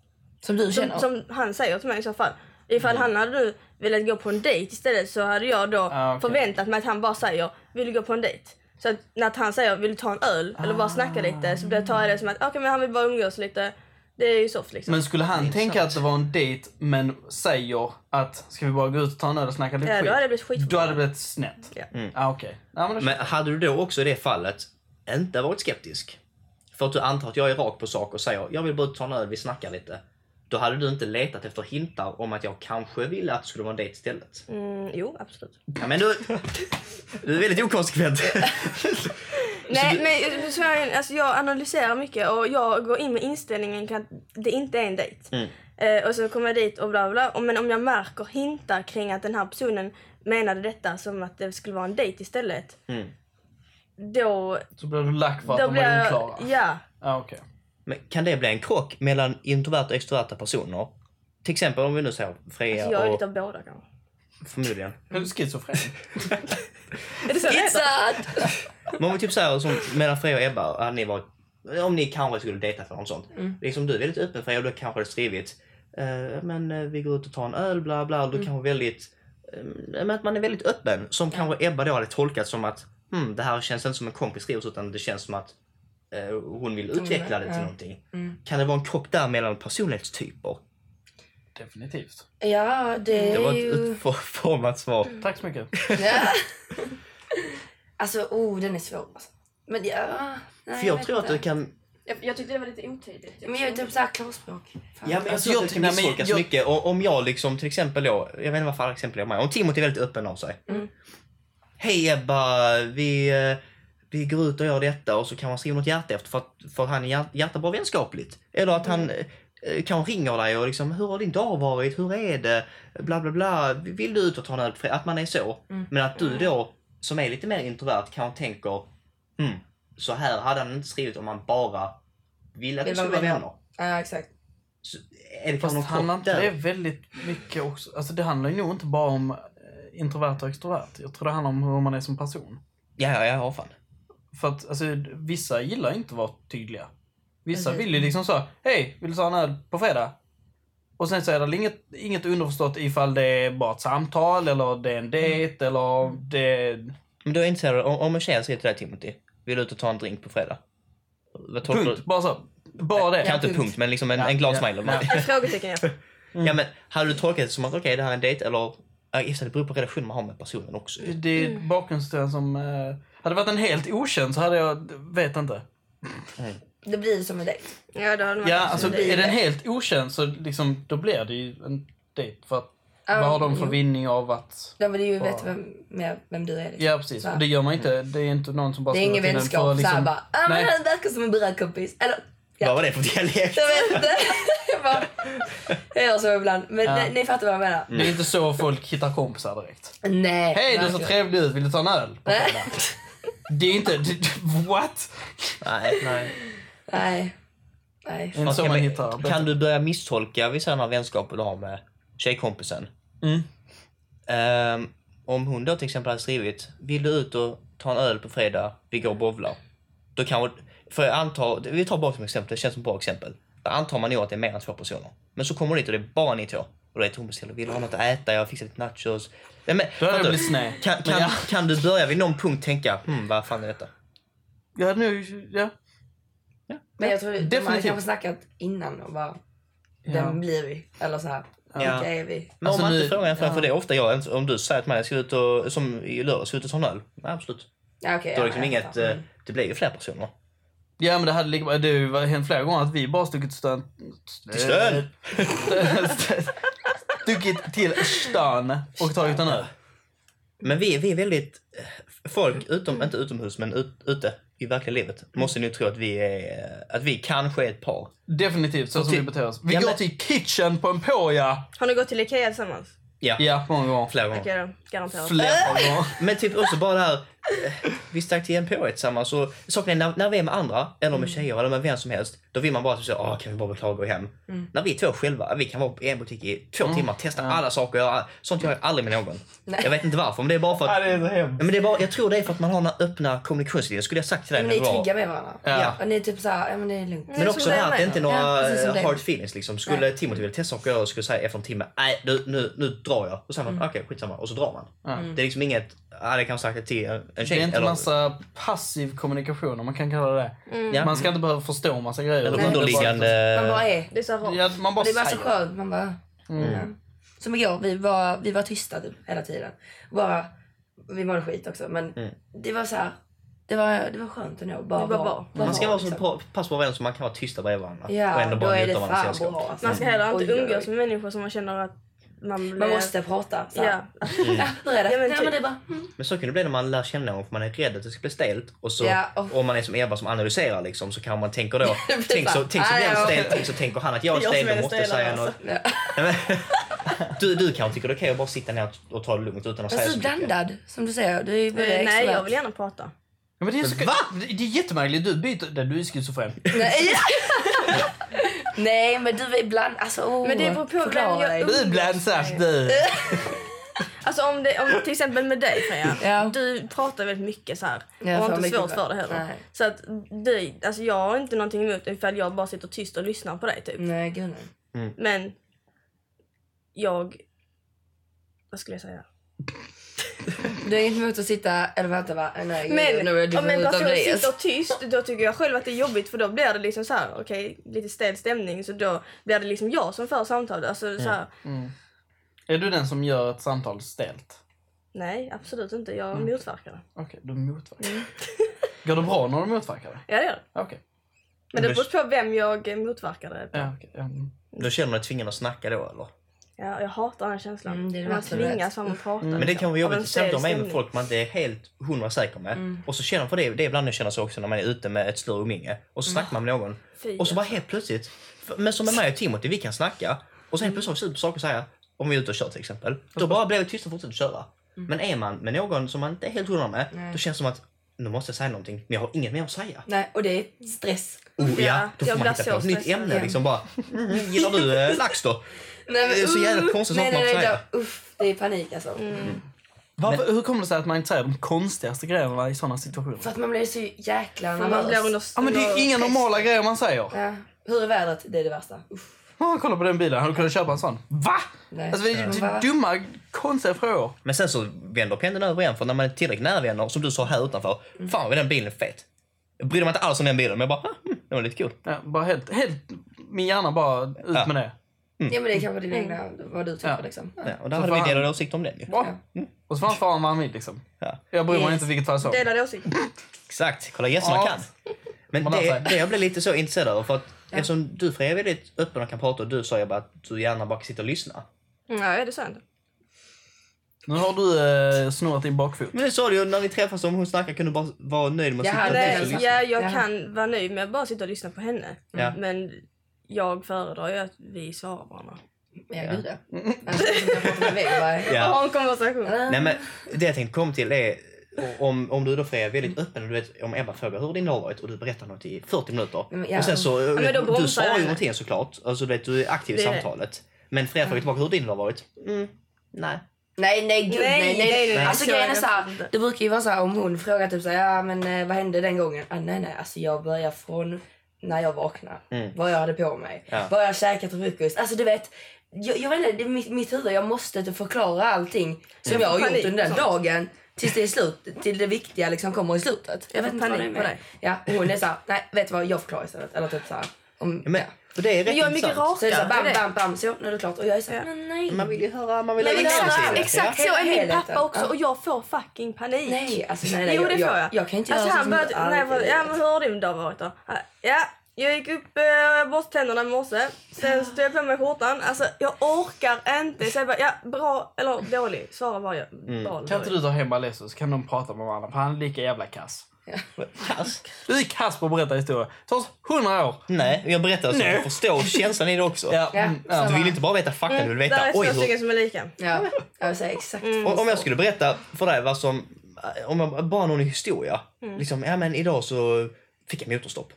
Som du känner? som, som han säger till mig i så fall. Ifall Mm. han hade nu velat gå på en dejt istället så hade jag då Ah, okej. förväntat mig att han bara säger vill du gå på en dejt? Så att när han säger vill du ta en öl eller bara Ah. snacka lite så blir- tar jag det som att okej men han vill bara umgås lite. Det är ju soft liksom. Men skulle han tänka att det var en dejt men säger att ska vi bara gå ut och ta en öl och snacka lite Ja, skit? då hade det blivit skit. Då hade det blivit snett? Ja. Ah, Okej. Ja, men då- Men hade du då också i det fallet inte varit skeptisk? För att du antar att jag är rakt på sak och säger jag vill bara ut och ta en öl, vi snackar lite. Då hade du inte letat efter hintar om att jag kanske ville att det skulle vara en dejt istället. Mm, jo, absolut. Ja, men du, du är väldigt (laughs) okonsekvent. Nej, men så jag, alltså jag analyserar mycket och jag går in med inställningen att det inte är en dejt. Mm. Eh, och så kommer jag dit och bla bla. Och, men om jag märker hintar kring att den här personen menade detta som att det skulle vara en dejt istället. Mm. Då, Så blir du lack för att då de blir var jag... oklara? Ja. Ah, Okej. Men kan det bli en krock mellan introverta och extroverta personer? Till exempel om vi nu säger Freja Alltså jag är och lite av båda kanske. förmodligen. Är du schizofren? Är det så det It's heter? sad! Men om vi typ säger som mellan Freja och Ebba, hade ni varit, om ni kanske skulle dejta för något sånt. Mm. Liksom du är väldigt öppen Freja och du kanske hade skrivit eh, men eh, vi går ut och tar en öl bla bla. Mm. Du kanske väldigt, eh, men att man är väldigt öppen. Som kanske Ebba då hade tolkat som att hmm, det här känns inte som en kompis skriver utan det känns som att eh, hon vill utveckla det till ja. någonting. Mm. Kan det vara en krock där mellan personlighetstyper? Definitivt. Ja, det Det var är ett ju... Mm. utformat svar. Tack så mycket. (laughs) Ja. Alltså, oh, den är svår alltså. Men ja... nej, För jag vet tror att inte. du kan... Jag, jag tyckte det var lite otydligt. Men jag är typ såhär klarspråk. Fan. Ja, men jag Alltså, tror jag att det kan tycker- nej, men misstolkas jag- mycket. Och, om jag liksom till exempel då, jag vet inte vad för exempel jag menar. Om Timothy är väldigt öppen av sig. Hej Ebba, vi eh, vi går ut och gör detta och så kan man skriva något hjärta efter för att, för att han är hjär- hjärta bara vänskapligt. Eller att han eh, kan ringa dig och liksom, hur har din dag varit? Hur är det? Bla bla bla. Vill du ut och ta en öl? på fre- Att man är så. Men att du då, som är lite mer introvert, kanske tänker, hmm, så här hade han inte skrivit om han bara ville att vi Vill skulle vara vara vänner. Ja, exakt. Så, är det kanske Fast någon handlar kopp inte där? det väldigt mycket också? Alltså det handlar ju nog inte bara om eh, introvert och extrovert. Jag tror det handlar om hur man är som person. Ja, ja, ja, fan. För att alltså, vissa gillar inte att vara tydliga. Vissa Precis. vill ju liksom så, hej, vill du ta en öl på fredag? Och sen så är det inget, inget underförstått ifall det är bara ett samtal eller det är en dejt eller det är... Men då är jag intresserad av- om, om en tjej säger till dig Timothy, vill du ut och ta en drink på fredag? Vad tolkar Punkt. du? Bara så. Bara det. Kan inte punkt. punkt, men liksom en, Ja, en glad ja, smile. (laughs) ja. Mm. Ett frågetecken, ja. Ja men hade du tolkat det som att okej det här är en dejt eller Ja, just det, det beror på relationen man har med personen också. ju. Det Mm. är bakgrundshistorien som... Eh, hade det varit en helt okänd så hade jag... Vet inte. Det blir som en dejt. Ja, då har de Ja, varit- alltså är den helt okänd så liksom, då blir det ju en dejt. För att, vad har de för jo. vinning av att... De vill ju Bara- veta vem, mer vem du är. Liksom. Ja, precis. Så. Och det gör man inte. Det är inte någon som bara... Det är skriver ingen till en vänskap. för att så här liksom- bara, ah, men Nej. han verkar som en brödkompis. Eller, Vad var det för (laughs) dialekt? jag vet inte. (laughs) jag, bara, jag gör så ibland. Men Ja. ni, ni fattar vad jag menar. Det är inte så folk hittar kompisar direkt. Nej. Mm. Hej, du ser verkligen. trevlig ut. Vill du ta en öl? på Nej. fredag?" Det är inte... (laughs) det- What? Nej, nej. (laughs) Nej. Nej. Det är inte så Okej, man men hittar. kan du börja misstolka vissa andra vänskaper du har med tjejkompisen? Mm. Ehm, om hon då till exempel hade skrivit, vill du ut och ta en öl på fredag, vi går och bowlar. Då kan för jag antar, vi tar bara som exempel, det känns som ett bra exempel. Då antar man nog att det är mer än två personer. Men så kommer hon dit och det är bara ni två. Och då är hon beställer, vill du ha något att äta? Jag fixar lite nachos. Nej, men, Då hade jag fattar du? blivit sned. Kan, Men kan, ja. kan du börja vid någon punkt tänka, hmm, vad fan är detta? Ja, nu... Ja. Men jag tror de hade definitivt. kanske snackat innan och bara, Ja. vem blir vi? Eller så här, vilka är vi? Men Alltså om man nu- inte frågar en fråga, ja. för det är ofta jag, om du säger till mig, jag ska ut och, som i lördags, ska ut och ta en öl. Nej, absolut. Ja, okay, Då är det liksom inget, eh, det blir ju fler personer. Ja men det hade lika det har ju varit- hänt flera gånger att vi bara stuckit stön... Till stön? (laughs) stuckit till stön och tagit den öl. Men vi, vi är väldigt... eh, Folk, utom, inte utomhus, men ut, ute i verkliga livet, måste nu tro att vi är... Att vi kanske är ett par. Definitivt så som vi till- beter oss. Vi Ja, går men- till kitchen på Emporia. Har ni gått till Ikea tillsammans? Ja, Ja, många gånger. flera gånger. Okej då, garanterat. Flera gånger. Men typ också bara det här... eh, Vi stack till NPH tillsammans och saken är när, när vi är med andra, eller med tjejer eller med vem som helst, då vill man bara typ så "Åh, kan vi bara beklaga och gå hem. När vi två själva, vi kan vara i en butik i två timmar, testa alla saker, göra, sånt gör jag aldrig med någon. Jag vet inte varför, men det är bara för att... (laughs) Ja, det är så hemskt. Ja, Men det är bara, jag tror det är för att man har den här öppna kommunikationslinjen, skulle jag sagt till dig Men när ni du är var... trygga med varandra. Ja. Och ni är typ såhär, ja men det är lugnt. Men Nej, också som det det här att det är inte är med. Ja, några precis som eh, det är. hard feelings liksom. Skulle Nej. Timothy vilja testa saker och jag skulle säga efter en timme, nej nu, nu, nu drar jag. Och sen mm. okej skitsamma och så drar man. Det är liksom inget, nej det kan jag sagt det till en en Det tjej. är inte eller, massa passiv kommunikation om man kan kalla det det. Ja. Man ska inte behöva förstå massa grejer. eller Det är bara- underliggande. Man bara är. Det är så rart. Ja, man bara Det var så säger. skönt. Man bara... Mm. Ja. Som igår, vi var, vi var tysta typ, hela tiden. Bara, vi mådde skit också men Mm. det var så här, det var, det var skönt ändå. Bara, Det var vara- bra. bara Man ska vara, vara så liksom. bra- pass på varandra så man kan vara tysta bredvid varandra. och Ja, ändå då bara är njuta det av varandras fan sällskap. bra. Alltså. Man ska heller inte Oj, oj, oj. umgås med människor som man känner att man blir... Man måste prata. Så. här. Ja. Nu är Ja, det. Ja, men men, typ. det är bara... Mm. Men så kan det bli när man lär känna någon för man är rädd att det ska bli stelt. Och så, Ja, och- om man är som Ebba som analyserar liksom, så kan man tänka (laughs) då, blir tänk så, fan- tänk så blir Ah, ja. han stel, tänk så tänker han att jag är Jag som stel, är då måste jag stelare, säga något. Ja. Nej, men- (laughs) du, du kanske tycker det är okej att bara sitta ner och- och ta det lugnt utan att Men säga så så mycket. blandad som du säger. Du är ju Eh, både Nej, extrovert. jag vill gärna prata. Ja, men det är så... Va? Det det är jättemärkligt. Du byter... Nej, Du är (laughs) schizofren. Nej, (laughs) Nej men du är bland... Alltså, oh, Men det beror på vem förklara jag dig. umgås Du är blandsatt du. Alltså om det, om, till exempel med dig Freja. (laughs) Ja. Du pratar väldigt mycket så här. Ja, och fan, har inte mycket svårt bra. för det heller. Nej. Så att du, alltså jag har inte någonting emot ifall jag bara sitter tyst och lyssnar på dig typ. Nej, gud nej. Men jag... Vad skulle jag säga? Du har inget emot att sitta... Eller vänta va? Nej, Men nu är om en person dig. sitter tyst, då tycker jag själv att det är jobbigt för då blir det liksom så här, okej, lite stel stämning så då blir det liksom jag som för samtalet. Alltså så här, Mm. Är du den som gör ett samtal stelt? nej absolut inte, jag motverkar det. Okej, du motverkar. Mm. (laughs) Går det bra när du motverkar det? Ja det gör det. Okej. Men det beror på vem jag motverkar det. Ja, okej. Ja, mm. Då känner man dig tvingad att snacka då eller? Ja, jag hatar den här känslan. Mm, det är det man värsta jag tvingas vet. fram och prata. Men det kan liksom, vara av jobbigt en att samtala stel med, med stämning. folk man inte är helt hundra säker med. Mm. Och så känner man för det, det är ibland jag känner så också när man är ute med ett större umgänge. Och Mm. så snackar man med någon. Fy, Och så bara helt plötsligt. för- Men som med mig och Timothy, vi kan snacka. Och sen helt plötsligt har vi slut på saker att säga. Om vi är ute och kör till exempel. Då bara blir vi tysta och fortsätter köra. Men är man med någon som man inte är helt hundra med. Då känns det som att nu måste jag säga någonting. Men jag har inget mer att säga. Nej, och det är stress. Oh, ja, Ja, då får jag man blir hitta så på ett nytt stressad. ämne. Liksom bara, mm, gillar du eh, lax då? Nej, Det är så jävla uff, konstigt nej, sak man nej, får nej, säga. då- Uff, det är panik alltså. Mm. Varför, hur kommer det sig att man inte säger de konstigaste grejerna i sådana situationer? För att man blir så jäkla Man blir under, nervös. Ja, men det är ju inga normala grejer man säger. Ja. Hur är vädret? Det är det värsta. Uff. Ja, kolla på den bilen, hade du kunnat köpa en sån? Va? Nej. Alltså, det är ju Va? dumma, konstiga frågor. Men sen så vänder pendeln över igen. För när man är tillräckligt nära vänner, som du sa här utanför. Fan vad den bilen är fet. Jag brydde mig inte alls om den bilen, men jag bara, "Ah, mm, den var lite kul. Ja, bara helt, helt, min hjärna bara ut Ja. med det. Ja, men det är kanske Mm. din egna, vad du tycker Ja. liksom. Mm. Ja, och där Så hade fan. vi delade åsikter om den ju. Bra. Mm. Och så får han fara vad han vill liksom. Ja. Jag bryr mig inte vilket fall som. Delade åsikter. Exakt, kolla gästerna Ja. kan. Men Man alltså- lär det, sig. det jag blev lite så intresserad över, för att eftersom du Freja är väldigt öppen och kan prata och du sa ju bara att du gärna bara sitter och lyssnar. Nej, det sa jag inte. Nu har du eh, snurrat din bakfot. Men det sa du ju när ni träffas om hon snackar kan du bara vara nöjd med att Jag sitta hade tyst den och Nej, eh, lyssna. saken. ja, jag Jaha. kan vara nöjd med att bara sitta och lyssna på henne. Ja. Men jag föredrar ju att vi svarar varandra. Ja, gud ja. Alltså, jag pratar med vägg bara. Ja. Ha en konversation. Nej, men det jag tänkte komma till är om, om du då Freja är väldigt öppen och du vet om Ebba frågar hur din dag har varit och du berättar något i 40 minuter. Men, ja. Och sen så, men då bromsar du jag svarar ju henne. någonting såklart. Alltså du vet, du är aktiv i Det är det. samtalet. Men Freja frågar tillbaka hur din dag har varit. Mm. Nej. Nej, nej, gud, nej, nej, nej, nej. Alltså Så grejen är jag såhär, inte. det brukar ju vara såhär om hon frågar typ såhär, ja men eh, vad hände den gången? Ah, nej, nej, alltså jag börjar från när jag vaknade. Mm. Vad jag hade på mig. Ja. Vad jag käkat till frukost. Alltså du vet, jag, jag vet inte, det är mitt, mitt huvud, jag måste typ förklara allting som Mm. jag har Panik gjort under den och dagen. Tills det är slut, till det viktiga liksom kommer i slutet. Jag vet får inte vad det är panik på med. dig. Ja, och hon är såhär, nej vet du vad, jag förklarar istället. Eller typ såhär. Om, Men, ja. för det är rätt jag är mycket intressant. Så är det såhär, Ja, det bam, är det. bam, bam, så nu är det klart. Och jag är såhär, Ja. men nej. Man vill ju höra, man vill ha Men alltså, det är insikt i sant. exakt det. Ja. så är min Helheten. pappa också Ja. och jag får fucking panik. Nej, alltså nej, nej, jo det jag, får jag. jag. Jag kan inte alltså, göra han sånt som började, nej, aldrig- vad- Ja men hur har din dag varit då? Ja, jag gick upp eh, jag borstade tänderna i morse. Sen så tog jag på mig skjortan. Alltså jag orkar inte. Så jag bara, ja bra eller dålig. Svara bara ja. Bra, eller Mm. Kan inte dålig. du ta hem Alesso så kan de prata med varandra för han är lika jävla kass. Kass. (laughs) Du är kass på att berätta historier. Ta oss 100 år. Nej, jag berättar så Nej. jag förstår känslan i det också. Ja. Ja, mm, ja. Du vill inte bara veta fakta, du vill Där veta är oj två hur stycken som är lika. Ja, jag säger exakt Mm. Om, om jag skulle berätta för dig vad som, om jag bara någon historia. Mm. Liksom, ja men idag så fick jag motorstopp.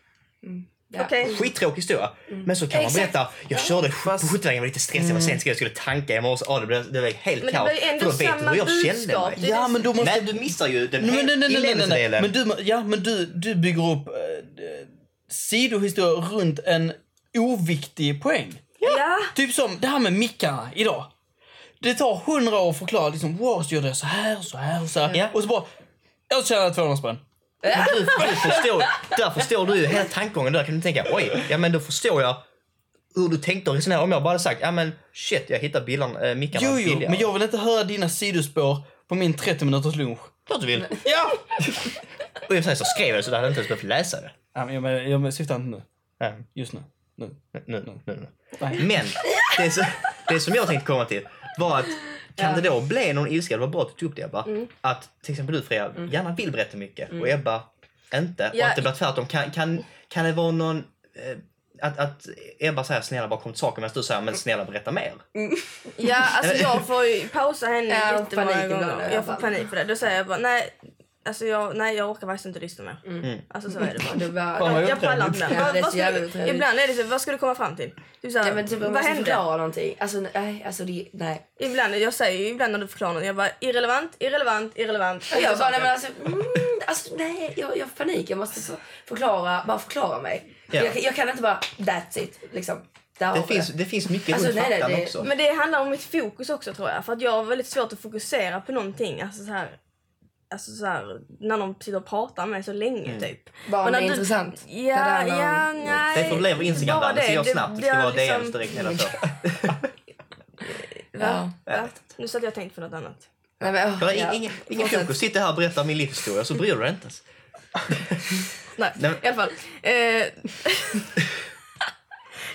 Ja. Okej. Skittråkig historia. Mm. Men så kan man Exakt. berätta, jag körde sj- på skyttevägen, jag var lite stressig, jag var sen skulle jag skulle tanka i morse, ja det blev, det blev helt Men det kaos. blir ju ändå För då vet du samma hur jag kände budskap. mig. Det är Ja, men då måste... Nej du missar ju den Nej, nej, nej, nej, nej, nej. inledningsdelen. Men, du, ja, men du, du bygger upp eh, eh, sidohistorier runt en oviktig poäng. Ja. Typ som det här med mickarna idag. Det tar hundra år att förklara liksom, wow, så gjorde jag så här, så här, så här. Ja. Och så bara, jag tjänade 200 spänn. Men du, du förstår, där förstår du ju hela tankegången. Där kan du tänka, oj, ja men då förstår jag hur du tänkte och resonerade. Om jag bara hade sagt, ja men shit, jag hittar bilarna, äh, mickarna Jo, jo, billigare. men jag vill inte höra dina sidospår på min 30 minuters lunch. Klart du vill. Ja! Och i och för sig så skrev jag det så du hade inte ens behövt läsa det. ja men jag, men, jag men, syftar inte nu. Ja, Just nu. nu. nu, nu, nu. Nej. Men det, som- det som jag tänkte komma till var att kan det då bli någon ilska, det var bra att du tog upp det Ebba, Mm. att till exempel du Freja gärna vill berätta mycket och Ebba inte. Ja. Och att det blir tvärtom. Kan, kan, kan det vara någon... Eh, att, att Ebba säger snälla bara kom till saken medan du säger men snälla berätta mer. Ja, (laughs) alltså jag får ju pausa henne Ja, jag får jättemånga panik ibland i gånger. alla Jag får fall. panik för det. Då säger jag bara nej, alltså jag, nej, jag orkar faktiskt inte lyssna mer. Mm. Alltså så är det Mm. bara. Det var, Fan, vad Jag pallar inte Ja, det är mer. Vad så jävla ska- otrevligt. Ibland är det så, vad ska du komma fram till? Typ så här, ja, men typ, man vad måste hände? förklara någonting. Alltså nej, alltså det, nej. Ibland, jag säger ju ibland när du förklarar något, jag bara irrelevant, irrelevant, (laughs) irrelevant. Och jag bara, nej men alltså, mm, alltså nej, jag, jag har panik. Jag måste få- förklara, bara förklara mig. Ja. Jag, jag kan inte bara, that's it, liksom. Där har Det vi finns, det finns mycket Alltså, runt nej, nej, faktan det- också. Men det handlar om mitt fokus också tror jag. För att jag har väldigt svårt att fokusera på någonting. Alltså så här, alltså så här när någon sitter och pratar med mig så länge Mm. typ. Bara Och om det när är du- intressant. Ja, När det handlar om- ja, nej. Det är problem med Instagram Bara där, det ser jag det, snabbt. Det det ska vara har liksom- (laughs) DMs direkt hela tiden. Ja. Ja, Nu satt jag och tänkte på något annat. Nej, men, åh, Jag har ja. ingen, ingen fokus. Sitter här och berättar min livshistoria så bryr du dig inte ens. Nej, Nej, men- i alla fall. Eh, (laughs)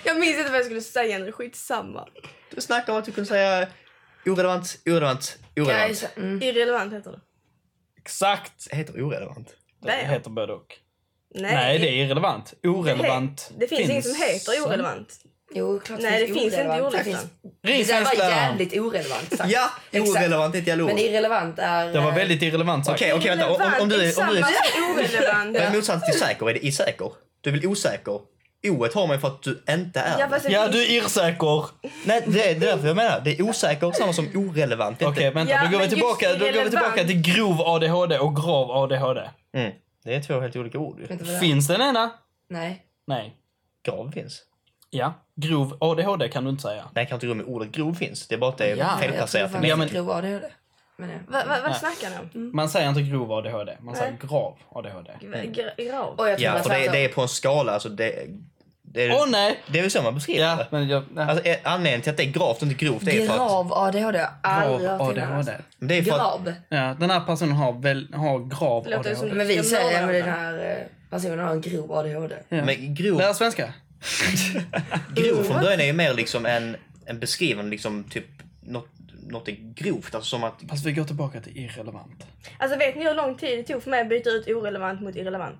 Jag minns inte vad jag skulle säga nu, skitsamma. Du snackade om att du kunde säga orelevant, orelevant, orelevant. Kajsa, mm. Irrelevant heter det. Exakt! Det heter orelevant. Det Damn. heter både och. Nej, det är irrelevant. Orelevant Det finns inget som heter orelevant. Jo, klart Nej, det finns inte i orelevant. Det ordlistan. finns- Det där var Risvenskläraren. jävligt orelevant sagt. Ja, Exakt. orelevant är ett jävla ord. Men Okej, irrelevant är... eh, Det var väldigt irrelevant sagt. okej vänta. Om, om, om du är, om (laughs) du är, irrelevant. vad är motsatsen till säker? Är det osäker? Du är väl osäker? Oet har man för att du inte är Ja, det. fast det Ja, finns- du är irrsäker. Nej, det är det är därför jag menar. Det är osäker samma som orelevant. det är inte- Okej, vänta. Ja, då, går vi men tillbaka, just då går vi tillbaka irrelevant. till grov ADHD och grav ADHD. Mm. Det är två helt olika ord ju. Vänta, vad är det? Finns den ena? Nej. Nej. Grav finns. Ja. Grov ADHD kan du inte säga. Nej, jag kan inte gå med ordet grov finns. Det är bara att det är Ja, felplacerat. Jag i tror men- fan grov ADHD. Men ja. Va, va, vad Nej. snackar ni om? Man säger inte grov ADHD, man säger Nej. grav ADHD. Gra- Grav? Oj, jag tror Ja, det för var det, tvärtom. det är på en skala. Alltså det, det, är, Åh nej! det är väl så man beskriver Ja, det. men jag... nej. Alltså, eh, anledningen till att det är gravt och inte grovt det är för att... Grav ADHD har jag aldrig Grav hört innan. ADHD. alltså. Men Det är för att Grav. Ja, den här personen har, väl, har grav Det låter ADHD. som- Men vi Ska säger måla att den den? här eh, personen har en grov ADHD. Ja. men alltså, grov, Lära svenska. grov från början är ju mer liksom en, en beskrivande liksom typ något, något är grovt. Alltså som att... Fast vi går tillbaka till irrelevant. Alltså vet ni hur lång tid det tog för mig att byta ut orelevant mot irrelevant?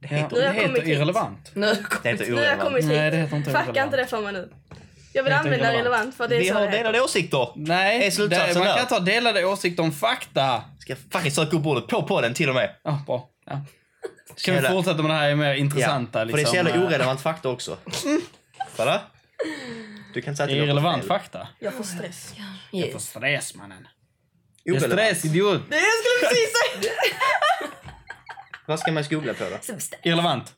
Det Ja, heter, Nu det har jag heter kommit hit. irrelevant. Nu det heter Nu har jag orelevant. kommit Nej, det hit. heter inte Facka irrelevant. inte det för mig nu. Jag vill Det heter använda irrelevant. relevant för att det är Vi så har det heter. delade åsikter. Nej, Det är slutsatsen man där. kan inte ha delade åsikter om fakta. Ska fucking söka upp ordet på podden till och med. Ja, bra. Ja. Så Kan vi jävla- fortsätta med det här mer Ja, intressanta? För det är så liksom, jävla eh, orelevant fakta (laughs) också. Kolla. Du kan inte säga att det låter Irrelevant fel. fakta. Jag får stress. För stress mannen. Det är Orelevant. stress idiot. Det jag skulle precis säga! Vad ska man googla på då? Irrelevant.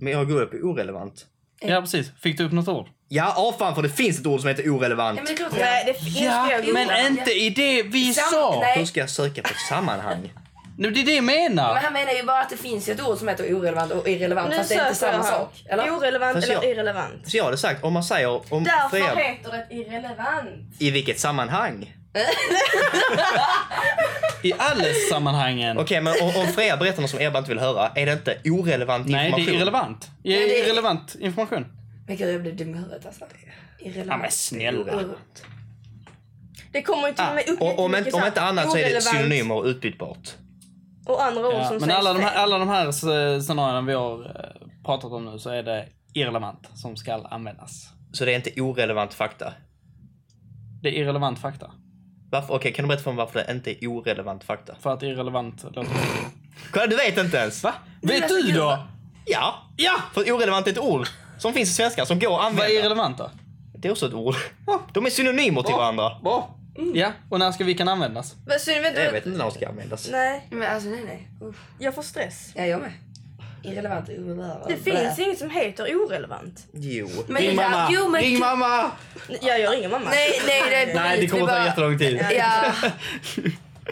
Men jag googlar på orelevant. Eh. Ja precis. Fick du upp något ord? Ja, ja fan för det finns ett ord som heter orelevant. Ja, men det är klart Nej, det det finns fler googlar. men inte i det vi Sam- sa. nej. Hur ska jag söka på ett sammanhang? Nu, det är det jag menar. Men han menar ju bara att det finns ju ett ord som heter orelevant och irrelevant Nu fast det är inte söker jag samma här. sak. Eller? Orelevant Fast eller jag- irrelevant? Så jag hade sagt, om man säger om Därför Freja, heter det irrelevant. i vilket sammanhang? I alles sammanhangen. Okej, men om, om Freja berättar något som Ebba inte vill höra, är det inte orelevant Nej, det information? är irrelevant. Ja, det är- Irrelevant information. Men gud jag blev dum i huvudet alltså. Ja, men Irrelevant. snälla. Det kommer ju till och med upp Ah, Och, om, jättemycket inte, så om här, inte annat så är det orelevant synonymer och utbytbart. Och andra ord Ja, som men sägs alla de, här, fel. alla de här s- scenarierna vi har eh, pratat om nu så är det irrelevant som ska användas. Så det är inte orelevant fakta. Det är irrelevant fakta. Varför? Okej, kan du berätta för mig varför det inte är orelevant fakta? För att irrelevant låter... Kolla, du vet inte ens! Va? Vet du då? Ja! Ja! För orelevant är ett ord som finns i svenska som går att Vad är använda. irrelevant då? Det är också ett ord. De är synonymer till varandra. Bra. Ja, och när ska vi kan användas? Men syn, vänta, Jag vet inte när de ska användas. Nej, Men alltså nej nej. Uff. jag får stress. Ja jag med. Irrelevant och irrelevant. Det finns inget som heter orelevant. Jo. Men Ring ja, mamma! jo, men- Ring mamma! Jag gör ingen mamma. Nej nej (laughs) det Nej, det vi kommer att ta bara- jättelång tid. Ja.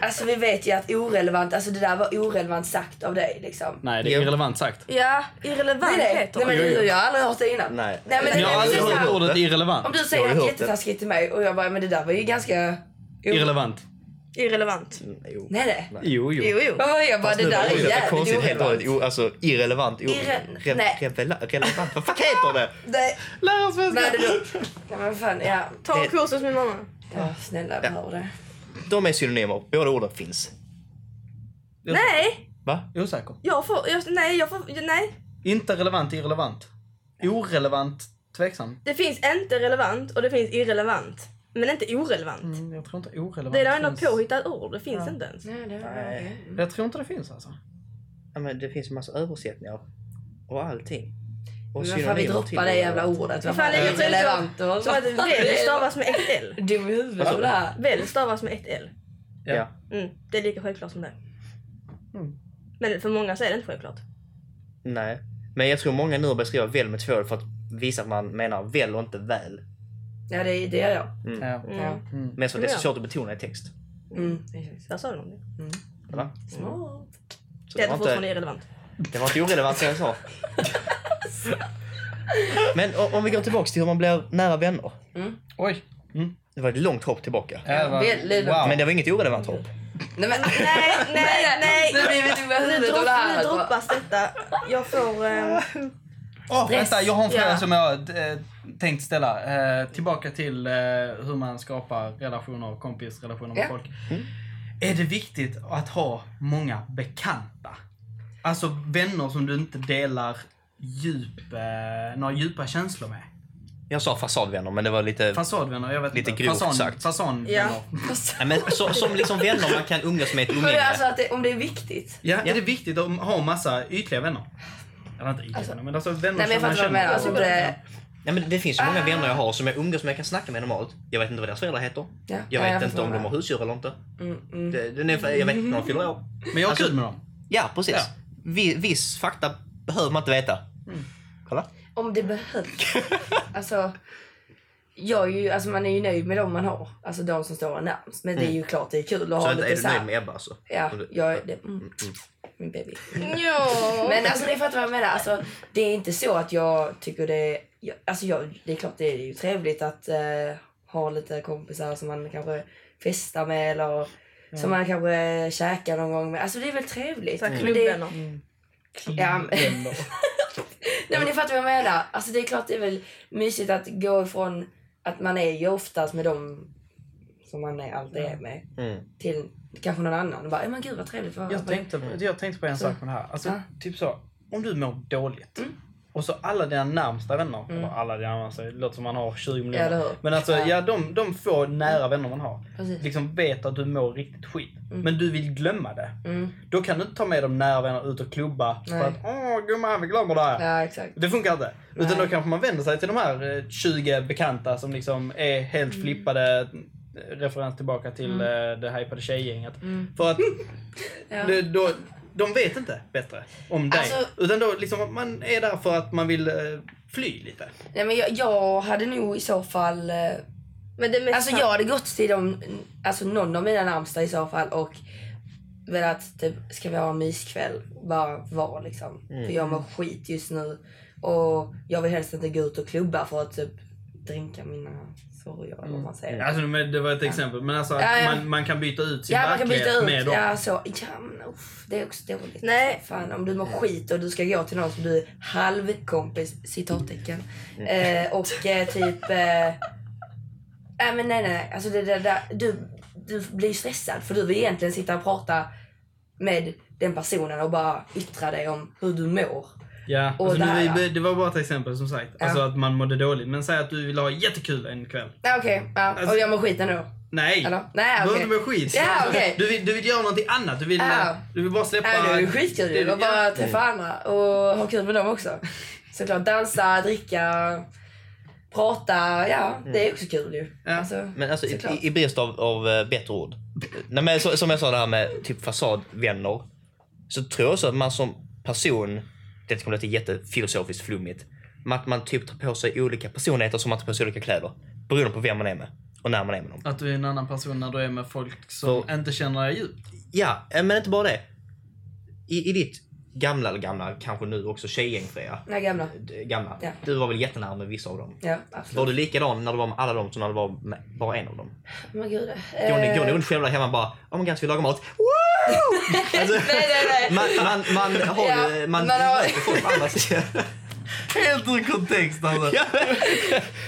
Alltså vi vet ju att orelevant, alltså det där var orelevant sagt av dig liksom. Nej, det är Jo. irrelevant sagt. Ja, irrelevant Nej, nej. heter nej men det. du, jag har aldrig hört det innan. Nej. nej men det Jag har är aldrig precis hört så här. ordet Om irrelevant. du Jag har säger ju något hört det. jättetaskigt till mig och jag bara, men det där var ju ganska... Irrelevant. Irrelevant. Mm, Jo. Nej nej. Jo, Jo, jo. Vad var det? jag bara, Nu det var där är ordet jävligt konstigt, helt och hållet orelevant. o- alltså, irrelevant. o- Irre- re- nej. revela- relevant. Vad fuck heter det? Nej, Lär oss nej det svenska! då. Nej men fan, ja. Ta Det- en kurs hos min mamma. ja snälla, jag behöver det. De är synonymer. Båda orden finns. Nej! Va? Osäker. Jag får, jag, nej, jag får, nej. Inte relevant, irrelevant. Orelevant, tveksam. Det finns inte relevant och det finns irrelevant. Men inte orelevant. Mm, Jag tror inte orelevant Det är ändå finns. påhittat ord, det finns inte ens. Nej, det var Nej. Jag tror inte det finns alltså. Ja, men det finns en massa översättningar. Och allting. Och Men fan vi droppar det jävla ordet. Vad fan är jag tror inte irrelevant och... Som att väl stavas med ett L. Dum i huvudet av det här. Väl stavas med ett L. Ja. Ja. Mm, det är lika självklart som det. Mm. Men för många så är det inte självklart. Nej. Men jag tror många nu beskriver väl med två ord för att visa att man menar väl och inte väl. Ja det, det gör jag. Mm. Ja. Mm. Ja. Mm. Men så det är så Ja. svårt att betona i text. Mm. Där sa du någonting. Eller? Smart. Så Det är var inte- fortfarande irrelevant. Det var inte orelevant det jag (laughs) sa. Men o- om vi går tillbaka till hur man blir nära vänner. Oj. Mm. Det var ett långt hopp tillbaka. Ja, vad- väldigt wow. Men det var inget orelevant hopp. (laughs) Nej men Nej, (laughs) nej, nej! nu blir vi dumma i Nu, huvudet av dropp, det här. nu alltså. droppas detta. Jag får... ehm, Åh, Stress. vänta, jag har en fråga Ja. som jag eh, tänkt ställa. Eh, tillbaka till eh, hur man skapar relationer, kompisrelationer med Ja. folk. Mm. Är det viktigt att ha många bekanta? Alltså vänner som du inte delar djup, eh, några djupa känslor med? Jag sa fasadvänner, men det var lite... Fasadvänner, jag vet Lite inte. grovt sagt. fasanvänner. Ja. Ja. Nej, men så, som liksom vänner man kan umgås med i ett (laughs) Men det umgänge. är alltså att det, om det är viktigt. är det viktigt att ha massa ytliga vänner? Eller inte ytliga vänner, men alltså vänner Nej men jag som man fattar vad du känner. menar. Alltså, Ja. det, Nej, men det finns ju Ah. många vänner jag har som jag umgås med jag kan snacka med normalt. Jag vet inte vad deras föräldrar heter. Ja, Jag ja, vet jag inte förstår om de det. har husdjur eller inte. mm, mm. Det, den är, jag vet inte när de fyller år. Men jag har kul Alltså- med dem. Ja, precis. Ja. Vi, viss fakta behöver man inte veta. Mm. Kolla. Om (laughs) det behövs. alltså, jag är ju, alltså man är ju nöjd med dem man har. Alltså de som står en närmst. Men det är ju klart det är kul Mm. att Så ha vänta, lite är du så här- nöjd med Ebba alltså? Ja, Om du- jag är det. Mm. Min baby. Ja. (laughs) Men alltså ni fattar vad jag menar. Alltså, det är inte så att jag tycker det är... Jag, alltså jag, det är klart det är ju trevligt att eh, ha lite kompisar som man kanske festar med eller som man kanske käkar någon gång med. Alltså det är väl trevligt. Så Mm. här, Men klubbvänner. Det, ja, men- nej men ni fattar vad jag menar. Alltså det är klart det är väl mysigt att gå ifrån att man är ju oftast med dem som man är, alltid är med Mm. till kanske någon annan. Och bara, "Ja, men gud vad trevligt. Vad, Jag tänkte, jag tänkte på en sak med det här. Alltså, Ja. Mm. typ så, om du mår dåligt och så alla dina närmsta vänner, eller alla dina närmsta, det låter som man har 20 eller miljoner. hur? Men alltså, Mm. Ja. ja, de, de få nära vänner man har Precis. liksom vet att du mår riktigt skit. Men du vill glömma det. Mm. Då kan du inte ta med de nära vännerna ut och klubba. För Nej. att, Åh gumman, vi glömmer det. här." Ja exakt. Det funkar inte. Utan då Nej. kanske man vänder sig till de här eh, 20 bekanta som liksom är helt Mm. flippade. eh, Referens tillbaka till eh, det hypade tjejgänget. För att Mm. (laughs) Ja. det, då, de vet inte bättre om dig. Alltså- Utan då liksom, man är där för att man vill eh, fly lite. Nej, men jag, jag hade nog i så fall... eh, Men det mesta... Alltså jag hade gått till dem, alltså någon av mina närmsta i så fall och velat typ, ska vi ha en myskväll? Bara vara liksom. För jag mår skit just nu. Och jag vill helst inte gå ut och klubba för att typ drinka mina sorger eller vad man säger. Alltså, men det var ett exempel. Men alltså, att Ja, ja. Man, man kan byta ut sin Ja man kan byta verklighet med ut. dem. Ja, så, ja, men, uff, det är också dåligt. Nej. Fan, om du mår skit och du ska gå till någon som du är halvkompis, citattecken. Eh, och eh, typ... Eh, nej men nej nej, nej. Alltså det, det, det, du, du blir stressad för du vill egentligen sitta och prata med den personen och bara yttra dig om hur du mår. Ja, Och alltså, men där, vi, ja. det var bara ett exempel som sagt. Ja. Alltså att man mådde dåligt. Men säg att du vill ha jättekul en kväll. Nej okej, ja, och jag mår skit ändå. Nej! Eller? Nej Du Ah, okej. Alltså- behöver inte må skit. Ja, Alltså, okej. du, vill, du vill göra någonting annat. Du vill, eh, Ja. du vill bara släppa... Ja, det är ju skitkul att bara träffa andra och ha kul med dem också. Såklart dansa, dricka, prata. Ja, det är också kul ju. Ja. Alltså, Mm. Men alltså, i, såklart. i brist av, av eh, bättre ord. Nej, men, så, som jag sa det här med typ fasadvänner. Så tror jag också att man som person, det kommer låta jättefilosofiskt flummigt, men att man typ tar på sig olika personligheter som man tar på sig olika kläder. Beroende på vem man är med och när man är med dem. Att du är en annan person när du är med folk som Så- inte känner dig djupt. Ja, eh, men inte bara det. I, i ditt gamla, eller gamla, kanske nu också tjejgäng Freja. Nej, gamla. D- Gamla. Ja. Du var väl jättenära med vissa av dem? Ja, Var absolut. du likadan när du var med alla dem som när du var med bara en av dem? Men gud. Går ni, eh, går ni runt själva där hemma och bara oh my god, ska vi laga mat? Wow! Alltså, (laughs) Nej, nej, nej. man, man, man har ju... (laughs) Ja, Man man har- möter folk på (laughs) andra sidan. Helt ur kontext alltså. Ja, men-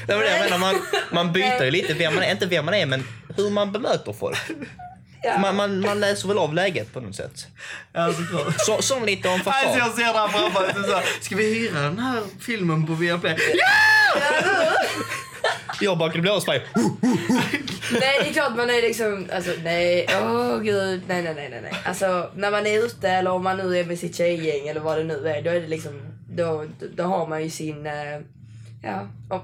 Nej, men det jag menar, man, man byter ju lite vem man är. Inte vem man är, men hur man bemöter folk. Ja. Man, man, man läser väl av läget på något sätt. Ja, såklart. Så, som lite om Alltså fasad. jag ser det här framför mig. Typ Ska vi hyra den här filmen på Viaplay? Jag bakade blåsfärg. Nej, det är klart man är liksom... Alltså, nej. Åh, gud. Nej, nej, nej, nej, nej. Alltså, när man är ute eller om man nu är med sitt tjejgäng eller vad det nu är, då är det liksom... Då, då har man ju sin... eh, Ja, om,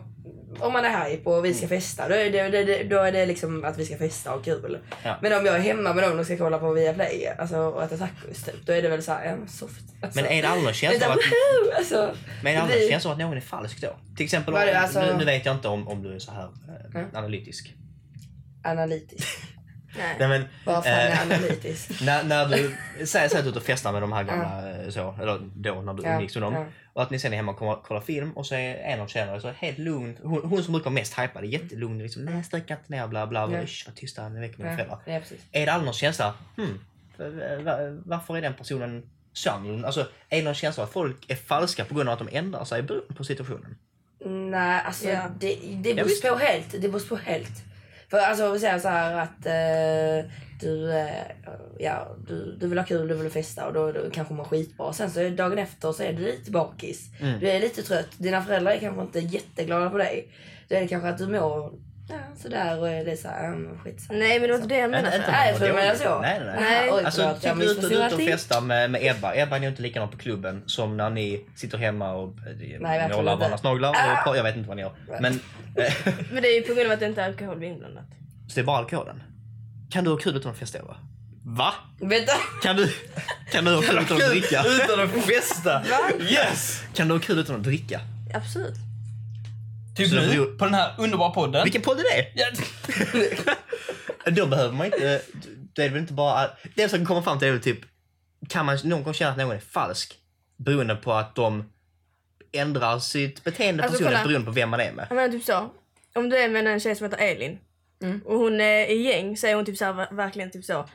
om man är hype och vi ska Mm. festa, då är det, det- det, då är det liksom att vi ska festa och kul. Ja. Men om jag är hemma med någon och ska kolla på Viaplay alltså, och äta tacos, typ, då är det väl såhär, ja, men soft. Alltså. Men är det aldrig någon känsla Utan, av att, woohoo, alltså, men är det aldrig vi- någon känsla av att någon är falsk då? Till exempel, om, Vad är det, alltså- nu, nu vet jag inte om, om du är så här eh, Mm. analytisk. Analytisk. Nej. Nej, men, Vad (laughs) fan eh, är analytisk? När, när du, (laughs) säg, säg att du är ute och festar med de här gamla, eh, så, eller då när du Ja, umgicks med dem. ja. Och att ni sen är hemma och kollar, kollar film och så är en av tjejerna så helt lugn. Hon, hon som brukar vara mest hypad, jättelugn. Liksom, Nej, sträck inte ner, bla bla. bla. Ja. Usch, vad tysta, nu väcker mina Ja, föräldrar. ja, precis. Är det aldrig någon känsla, hmm, för- va- eh, varför är den personen genren? Alltså, är det någon känsla av att folk är falska på grund av att de ändrar sig beroende på situationen? Nej, alltså Ja. det, det Ja, visst. beror på helt. Det beror på helt. För alltså om vi säger så här att eh, du, eh, ja, du, du vill ha kul, du vill festa och då, då kanske mår skitbra. Sen så är dagen efter så är du lite bakis. Mm. Du är lite trött. Dina föräldrar är kanske inte jätteglada på dig. Då är det kanske att du mår ja, sådär och är lite såhär, mm, skitsamma. Nej men det var inte det jag Inte- menade. inte för. att Nej, de för mår jag menar dåligt. så. Nej, nej, nej. Nej. Oj, Alltså, förlåt, typ jag du är ute- du är ute och missförstod allting. festar med, med Ebba. Ebba är ju inte likadan på klubben som när ni sitter hemma och eh, verkligen målar inte. Ah! varandras naglar. Och, par- jag vet inte vad ni gör. Men, eh, Men det är ju på grund av att det inte är alkohol inblandat. så det är bara alkoholen. Kan du ha kul utan att festa Ebba? Va? Vänta! Kan du, kan du ha kul utan att dricka? Utan att festa! Yes! Kan du ha kul utan att dricka? Absolut. Typ Så det nu, beror- på den här underbara podden. Vilken podd är det? Ja. Då behöver man inte... Det är väl inte bara... Det som kommer fram till är väl typ... Kan man någon gång känna att någon är falsk? Beroende på att de ändrar sitt beteende Alltså, personligt kolla. beroende på vem man är med. Jag menar typ så. Om du är med en tjej som heter Elin Mm. och hon är i gäng så är hon typ så här, ver- verkligen typ så.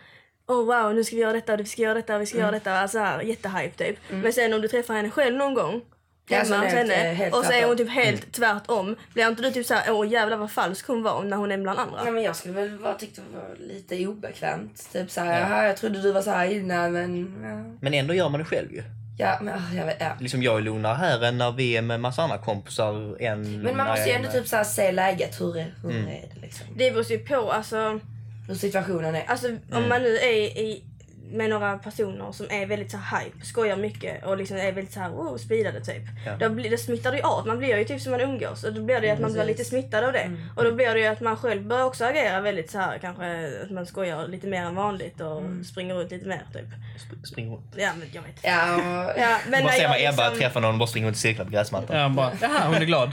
Oh wow, nu ska vi göra detta, vi ska göra detta, vi ska Mm. göra detta. Alltså här, jättehype typ. Men sen om du träffar henne själv någon gång Ja, så hemma hos det är helt- henne eh, helt Mm. och så är tvärtom. hon typ helt tvärtom. Blir inte du typ såhär, åh jävlar vad falsk hon var när hon är bland andra? Nej, men jag skulle väl bara tyckt det var lite obekvämt. Typ såhär, ja. jag trodde du var såhär innan men... ja." Men ändå gör man det själv ju. Ja, men ah, jag vet, ja. Liksom jag är lugnare här än när vi är med massa andra kompisar. Än Men man när måste jag ju är ändå med- typ så här se läget. Hur, är- hur är det liksom? Det beror ju på alltså. Hur situationen är. Alltså Mm. om man nu är i, med några personer som är väldigt så här hype, skojar mycket och liksom är väldigt så här wow, speedade typ. Ja. Mm, Då, blir, då smittar det ju av. Man blir ju typ som man umgås och då blir det ju att man blir Precis. lite smittad av det. Och då blir det ju att man själv börjar också agera väldigt så här kanske att man skojar lite mer än vanligt och Mm. springer runt lite mer typ. Sp- Spring runt. Ja men jag vet. Ja, Ja, men när Bara se jag man Ebba liksom- träffa någon och bara springa runt i cirklar på gräsmattan. Ja, bara, Jaha, hon är glad.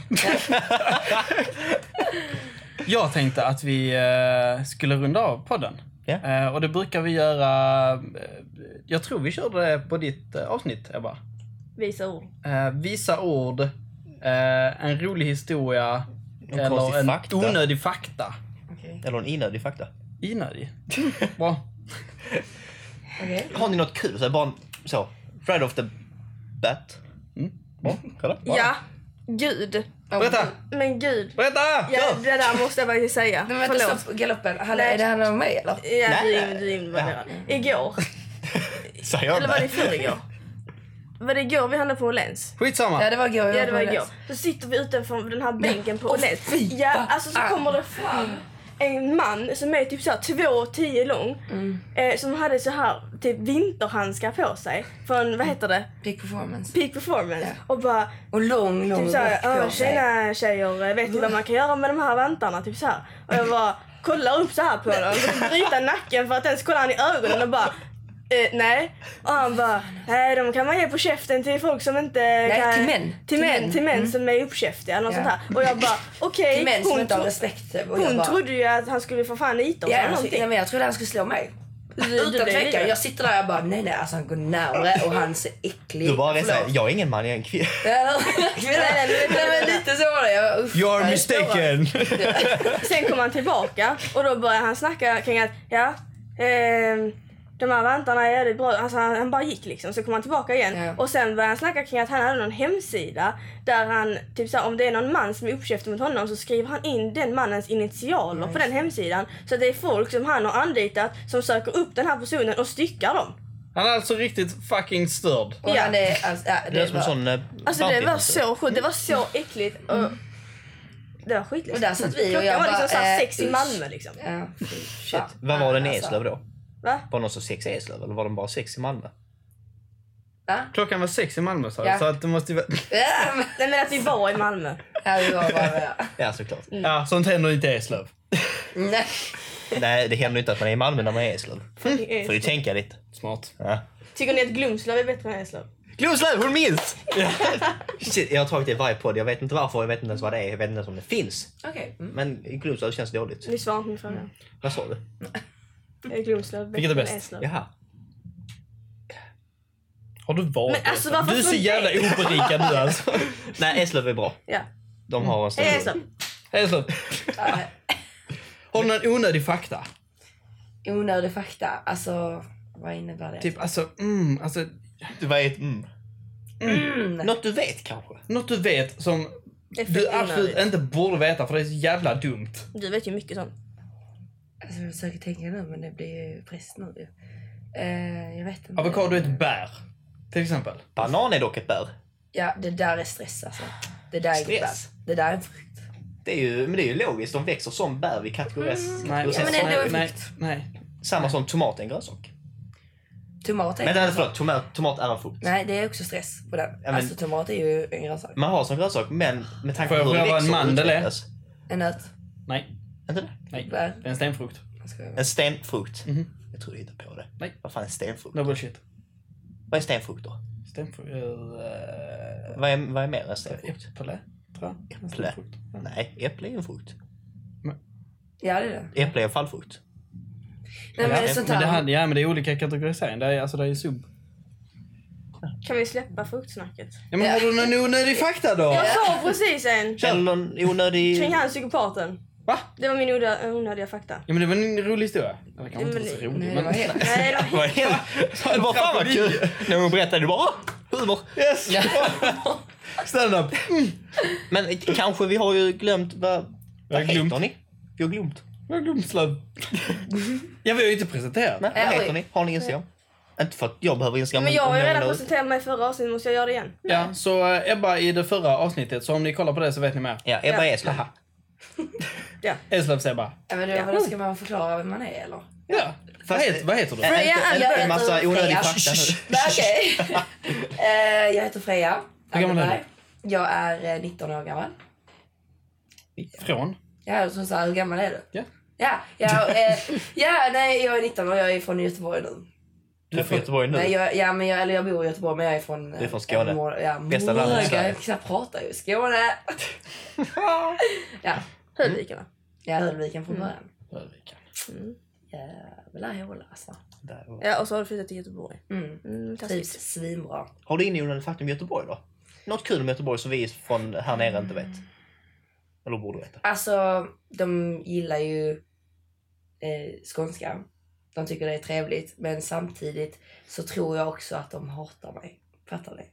Jag tänkte att vi eh, skulle runda av podden. Ja. Eh, och det brukar vi göra... eh, jag tror vi körde det på ditt eh, avsnitt, Ebba. Visa ord. Eh, visa ord, eh, en rolig historia konstig eller en fakta. onödig fakta. okej. Eller en inödig fakta. Inödig? Bra. Okej. Har ni något kul? Så här, bara så. Right off the bat. Mm. Bra, kolla. Bra. Ja, gud. Berätta! Men gud. Berätta! Ja, det där måste jag faktiskt säga. Men vänta, Förlåt. stopp galoppen. Hallå, är det här med mig eller? Ja, du är Nej. du är involverad. Igår. Säger jag Eller var det i det? förrgår? Var det igår vi handlade på Åhléns? Skitsamma. Ja, det var igår. jag Ja det var på igår. det. Så sitter vi utanför den här bänken på Åh, Åhléns. fy Ja, fan. alltså så kommer det fram en man som är typ så här 2,10 lång. Mm. Eh, som hade så här typ vinterhandskar på sig. Från, vad heter det? Big performance. Peak performance. Ja. Och bara Och lång, lång typ och såhär, rakt "Åh, på sig. tjena tjejer, eh, vet ni vad man kan göra med de här vantarna? Typ såhär. Och jag bara kollar upp så här på honom, och bryta nacken för att ens kolla han i ögonen och bara eh, nej. Och han bara, nej de kan man ge på käften till folk som inte Nej, kan... till män. Mm. Till män, till män som är uppkäftiga eller något Ja. sånt här. Och jag bara, okej. Till män som hon inte har tro- respekt. typ. Och jag hon bara- trodde ju att han skulle få fan nita oss Ja, eller jag, någonting. nej, men jag trodde han skulle slå mig. du Utan blev tvekan. livrädd. Jag sitter där och jag bara nej nej alltså han går närmare och han är så äcklig. Du bara säger, Förlåt. jag är ingen man, jag är (laughs) en kvinna. Ja, nej, nej, nej, men lite så var det. Jag, uff, You're nej. mistaken! Sen kom han tillbaka och då började han snacka kring att ja, ehm, de här vantarna är jävligt bra. Alltså han, han bara gick liksom. Så kom han tillbaka igen. Ja. Och sen började han snacka kring att han hade någon hemsida där han, typ såhär, om det är någon man som är uppkäftig mot honom så skriver han in den mannens initialer på den hemsidan. Så att det är folk som han har anlitat som söker upp den här personen och styckar dem. Han är alltså riktigt fucking störd. Och han är alltså, ja, Det är som en var- sån eh, Alltså det var Bounty-monster. så sjukt. Det var så äckligt. Och, det var skitläskigt. Mm. Och där satt vi och Klockan jag var bara... liksom såhär eh, sex i usch. Malmö liksom. Ja, fy fan. Vad var E den i Alltså, Eslöv då? Va? Var det någon som sex i E Eslöv eller var de bara sex i Malmö? va? (laughs) Klockan var sex i Malmö sa du, Ja. så att det måste ju vara... Ja, men- Nej men att vi var i Malmö. Ja, vi var bara... Ja såklart. Ja, sånt händer inte i Eslöv. Nej. Nej det händer ju inte att man är i Malmö när man är i E Eslöv. Får ju tänka lite. Smart. Ja. Tycker ni att Glumslöv är bättre än Eslöv? Gloslöv, hon minns! (laughs) Shit, jag har tagit det i varje podd. Jag vet inte varför, jag vet inte ens vad det är, jag vet inte ens om det finns. Okej. mm. Men Gloslöv känns dåligt. Ni svarar på min fråga. Vad sa du? Mm. Är Glumslöv bättre Vilket är bäst? än Eslöv? Jaha. Har du varit Men alltså, i Eslöv? varför Du är så från jävla oberikad du alltså. Nej, Eslöv är bra. Ja. De har en Är stor... Eslöv? Eslöv. Ja, Har du någon onödig fakta? Onödig fakta. Alltså, vad innebär det? Typ alltså, Typ, mm, alltså Det var ett mm. Mm. Något du vet kanske? Något du vet som Det är fett du absolut onödigt. inte borde veta för det är så jävla dumt. Du vet ju mycket sånt. Alltså, jag försöker tänka nu, men det blir ju press nu ju. Eh, jag vet inte. Avokado är ett bär. Till exempel. Banan är dock ett bär. Ja, det där är stress alltså. Det där är Stress? stress. Det där är en frukt. Det är ju, men det är ju logiskt, de växer som bär vid kategoris. Nej, Ja, men ändå är nej, frukt. nej. Samma som tomat är en grönsak. Tomat är Men nej, förlåt, tomat, tomat är en frukt. Nej, det är också stress på den. men- Alltså tomat är ju en grönsak. Man har som grönsak, men med tanke på Får jag hur det pröva växer en mandel, och eh? utvecklas. En nöt. Nej, Inte det? nej. Det Bär. är en stenfrukt. Jag skojar bara. En stenfrukt. Jag tror du hittade på det. Mhm. Nej. Vad fan är stenfrukt? No bullshit. Vad är stenfrukt då? Stenfrukt. Uh, Vad är, vad är mer än stenfrukt? eh, äpple, tror jag. En Äpple? stenfrukt. Ja. Nej, äpple är en frukt. Ja, det är det. Äpple är en fallfrukt. Nej, men det är men sånt Men det, här. här, ja, men det är olika kategorisering. Det är, alltså, det är ju sub. Kan vi släppa fruktsnacket? Ja, men har du någon onödig fakta då? Jag sa precis en Känner du någon (laughs) onödig... kring han psykopaten. Va? Det var min onö- onödiga fakta. Ja, men det var en rolig historia. Eller kanske men inte så det- rolig. Nej, det men... var (laughs) helt... Nej, det var- (laughs) Vad hände? Det var fan vad kul när hon berättade. Du bara "Åh, humor. Yes! Mm. Stand-up. Men k- kanske vi har ju glömt vad... Jag Vad har glömt. heter ni? Vi har glömt. Vad glömslav. Ja, vi har ju inte presenterat. Nej, vad Äh, heter oj. ni? Har ni Instagram? Inte för att jag behöver Instagram. Men jag om har ju någon redan har- presenterat mig i förra avsnittet, måste jag göra det igen? Ja, så eh, Ebba i det förra avsnittet, så om ni kollar på det så vet ni mer. Ja, Ja. Ebba Eslöv. Ja. Eslövs Ebba. Ja, men det, vadå, ska man förklara vem man är eller? Ja. Vad heter, vad heter du? Äh, Freja, inte- jag inte en heter massa onödig Freja. fakta nu. Nej, okej. (laughs) Eh, jag heter Freja. Hur gammal är du? Anderberg. Jag är eh, 19 år gammal. Från? Ja, som sa, hur gammal är du? Ja. Ja, ja, eh, ja, nej, jag är 19 och jag är från Göteborg nu. Du är från Göteborg nu. Nej, jag, ja, men jag, eller jag bor i Göteborg men jag är från... eh, Du är från Skåne. Mor- ja, Bästa landet i Mora. Sverige. Jag kan knappt prata ju. Skåne! ja, Höjdvikarna. jag är Höllviken från början. Rödviken. Jävla håla alltså. Där. Mm. Ja, och så har du flyttat till Göteborg. Mm. Mm, Trivs klassiskt. svinbra. Har du inne onödig fakta om Göteborg då? Något kul om Göteborg som vi från här nere inte vet? Mm. Eller borde veta? Alltså, de gillar ju eh, skånska. De tycker det är trevligt, men samtidigt så tror jag också att de hatar mig. Fattar ni?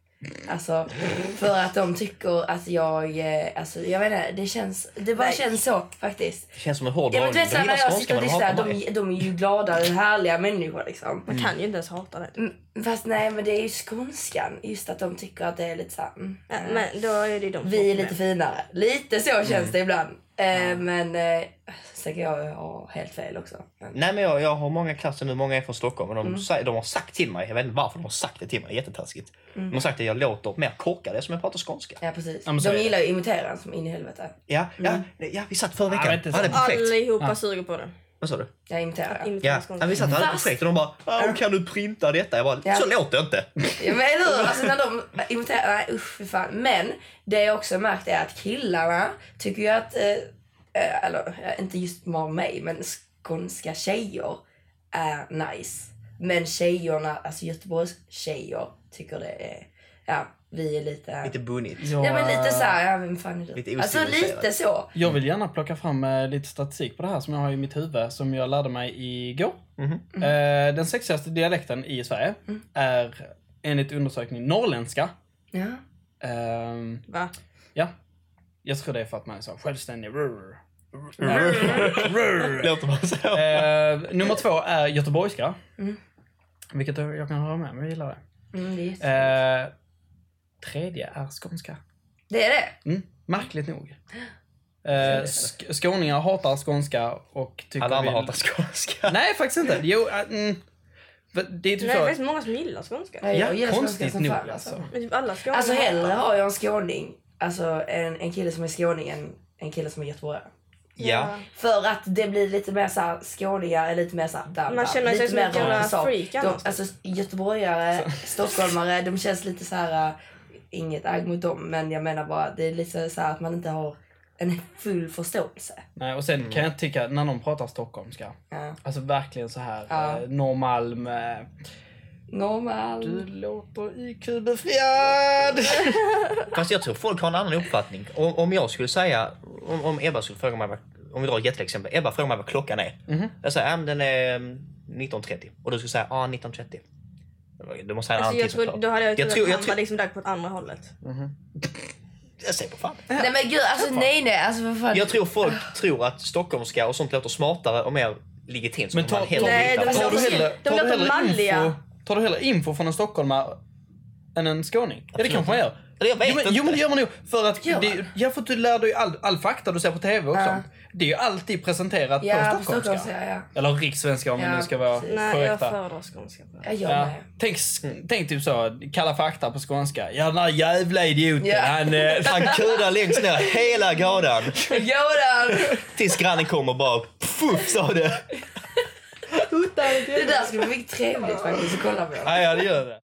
Alltså, för att de tycker att jag... eh, Alltså, jag vet inte, det känns... Det bara Nej. känns så faktiskt. Det känns som en hård Ja, men du dragning. vet, De såhär, gillar när jag skånska sitter och men de hatar lyssnar, mig. Mm. de, de är ju glada och härliga människor liksom. Mm. Man kan ju inte ens hata det. Mm, Fast nej, men det är ju skånskan. Just att de tycker att det är lite såhär... Mm, Ja, eh. men då är det ju de som Vi är har lite problem. finare. Lite Mm. så känns det ibland. Eh, Men eh, sen kan jag ha helt fel också. Men, Nej men jag, jag har många klasser nu, många är från Stockholm och de, Mm. säger, de har sagt till mig, jag vet inte varför de har sagt det till mig, jättetaskigt. Mm. De har sagt att jag låter mer korkad eftersom jag pratar skånska. ja, precis. men så är De det. gillar ju att imitera en som in i helvete. Ja, Mm. ja, nej, ja vi satt förra Ja, veckan, men inte så. hade ett projekt. Allihopa Ja. suger på det. Vad sa du? Jag imiterar. Ja, Imiterar Ja, ja, skånska. vi satt och hade ett Fast- projekt och de bara "Åh, “Kan du printa detta?” Jag bara Ja. “Så låter det inte!” men eller hur? Alltså när de imiterar, nej usch fy fan. Men det jag också märkt är att killarna tycker ju att, eh, eh, eller eh, inte just med mig, men skånska tjejer är nice. Men tjejerna, alltså Göteborgs tjejer tycker det är, ja vi är lite... Lite bunnigt. Ja men lite så här, ja vem fan är du? Lite alltså ociviliserat. lite så. Jag vill gärna plocka fram eh, lite statistik på det här som jag har i mitt huvud som jag lärde mig igår. Mhm. Eh, den sexigaste dialekten i Sverige Mm. är enligt undersökning norrländska. Ja. Ehm, Va? ja, jag tror det är för att man är så självständig. Rrr. Låter man så? Eh, nummer två är göteborgska. Vilket jag jag kan hålla med om, jag gillar det. Mm, det, är jätte- Eh, tredje är skånska. det är det. Mm, märkligt nog. Eh, sk- skåningar hatar skånska och tycker Alla andra vi- hatar skånska. Nej, faktiskt inte. Jo, äh, mm. För Det är Nej, det typ är så. faktiskt många som gillar skånska. Jag Ja, gillar konstigt svenska som nog fan, alltså. Men typ alla skåningar. Alltså hellre har jag en skåning, alltså en, en kille som är skåning än en kille som är göteborgare. Ja. För att det blir lite mer såhär, skåningar är lite mer såhär där, Man känner sig som ett jävla freak de, annars. Alltså göteborgare, stockholmare, de känns lite så här. äh, inget agg mot dem men jag menar bara det är lite så här att man inte har en full förståelse. Nej, och sen kan jag tycka när någon pratar stockholmska. Ja. Alltså verkligen så här Ja. eh, Norrmalm. Eh, Normal. du låter IQ-befriad. Fast jag tror folk har en annan uppfattning. Om, om jag skulle säga, om, om Ebba skulle fråga mig, vad, om vi drar ett jätteexempel. Ebba frågar mig Mhm. vad klockan är. Jag säger, ja men den är mm, 19.30. Och du skulle säga, ja 19.30. Du måste ha Alltså, en annan jag tid tror, såklart. då hade jag trott jag tror, att jag han var tror, liksom där på ett andra hållet. jag ser på fan. Nej men gud, alltså nej nej. Alltså vad fan. Jag tror folk tror att stockholmska och sånt låter smartare och mer legitimt. Men som ta- man hellre ta- Nej, litar det var på. Tar du låter- hellre, de tar du låter hellre info, malliga. tar du hellre info från en stockholmare än en skåning? Ja, det kanske man gör. Eller jag vet jo, men, inte. jo men det gör man nog. För att Gör det, ja, för att du lär dig all, all fakta du ser på TV och Ja. sånt. Det är ju alltid presenterat Ja, på på stockholmska. Stockholm säger jag. Eller rikssvenska om vi Ja, nu ska vara Nej, jag korrekta. föredrar skånska. på det. Jag gör Ja. med. Tänk, s- tänk typ så, Kalla fakta på skånska. Ja den där jävla idioten Ja. han... eh, (laughs) Han kudar längst ner hela gadan. (laughs) Göran! Tills grannen kommer och bara fuff sa det. Det där skulle vara mycket trevligt faktiskt att kolla på. Nej, ja det gör det.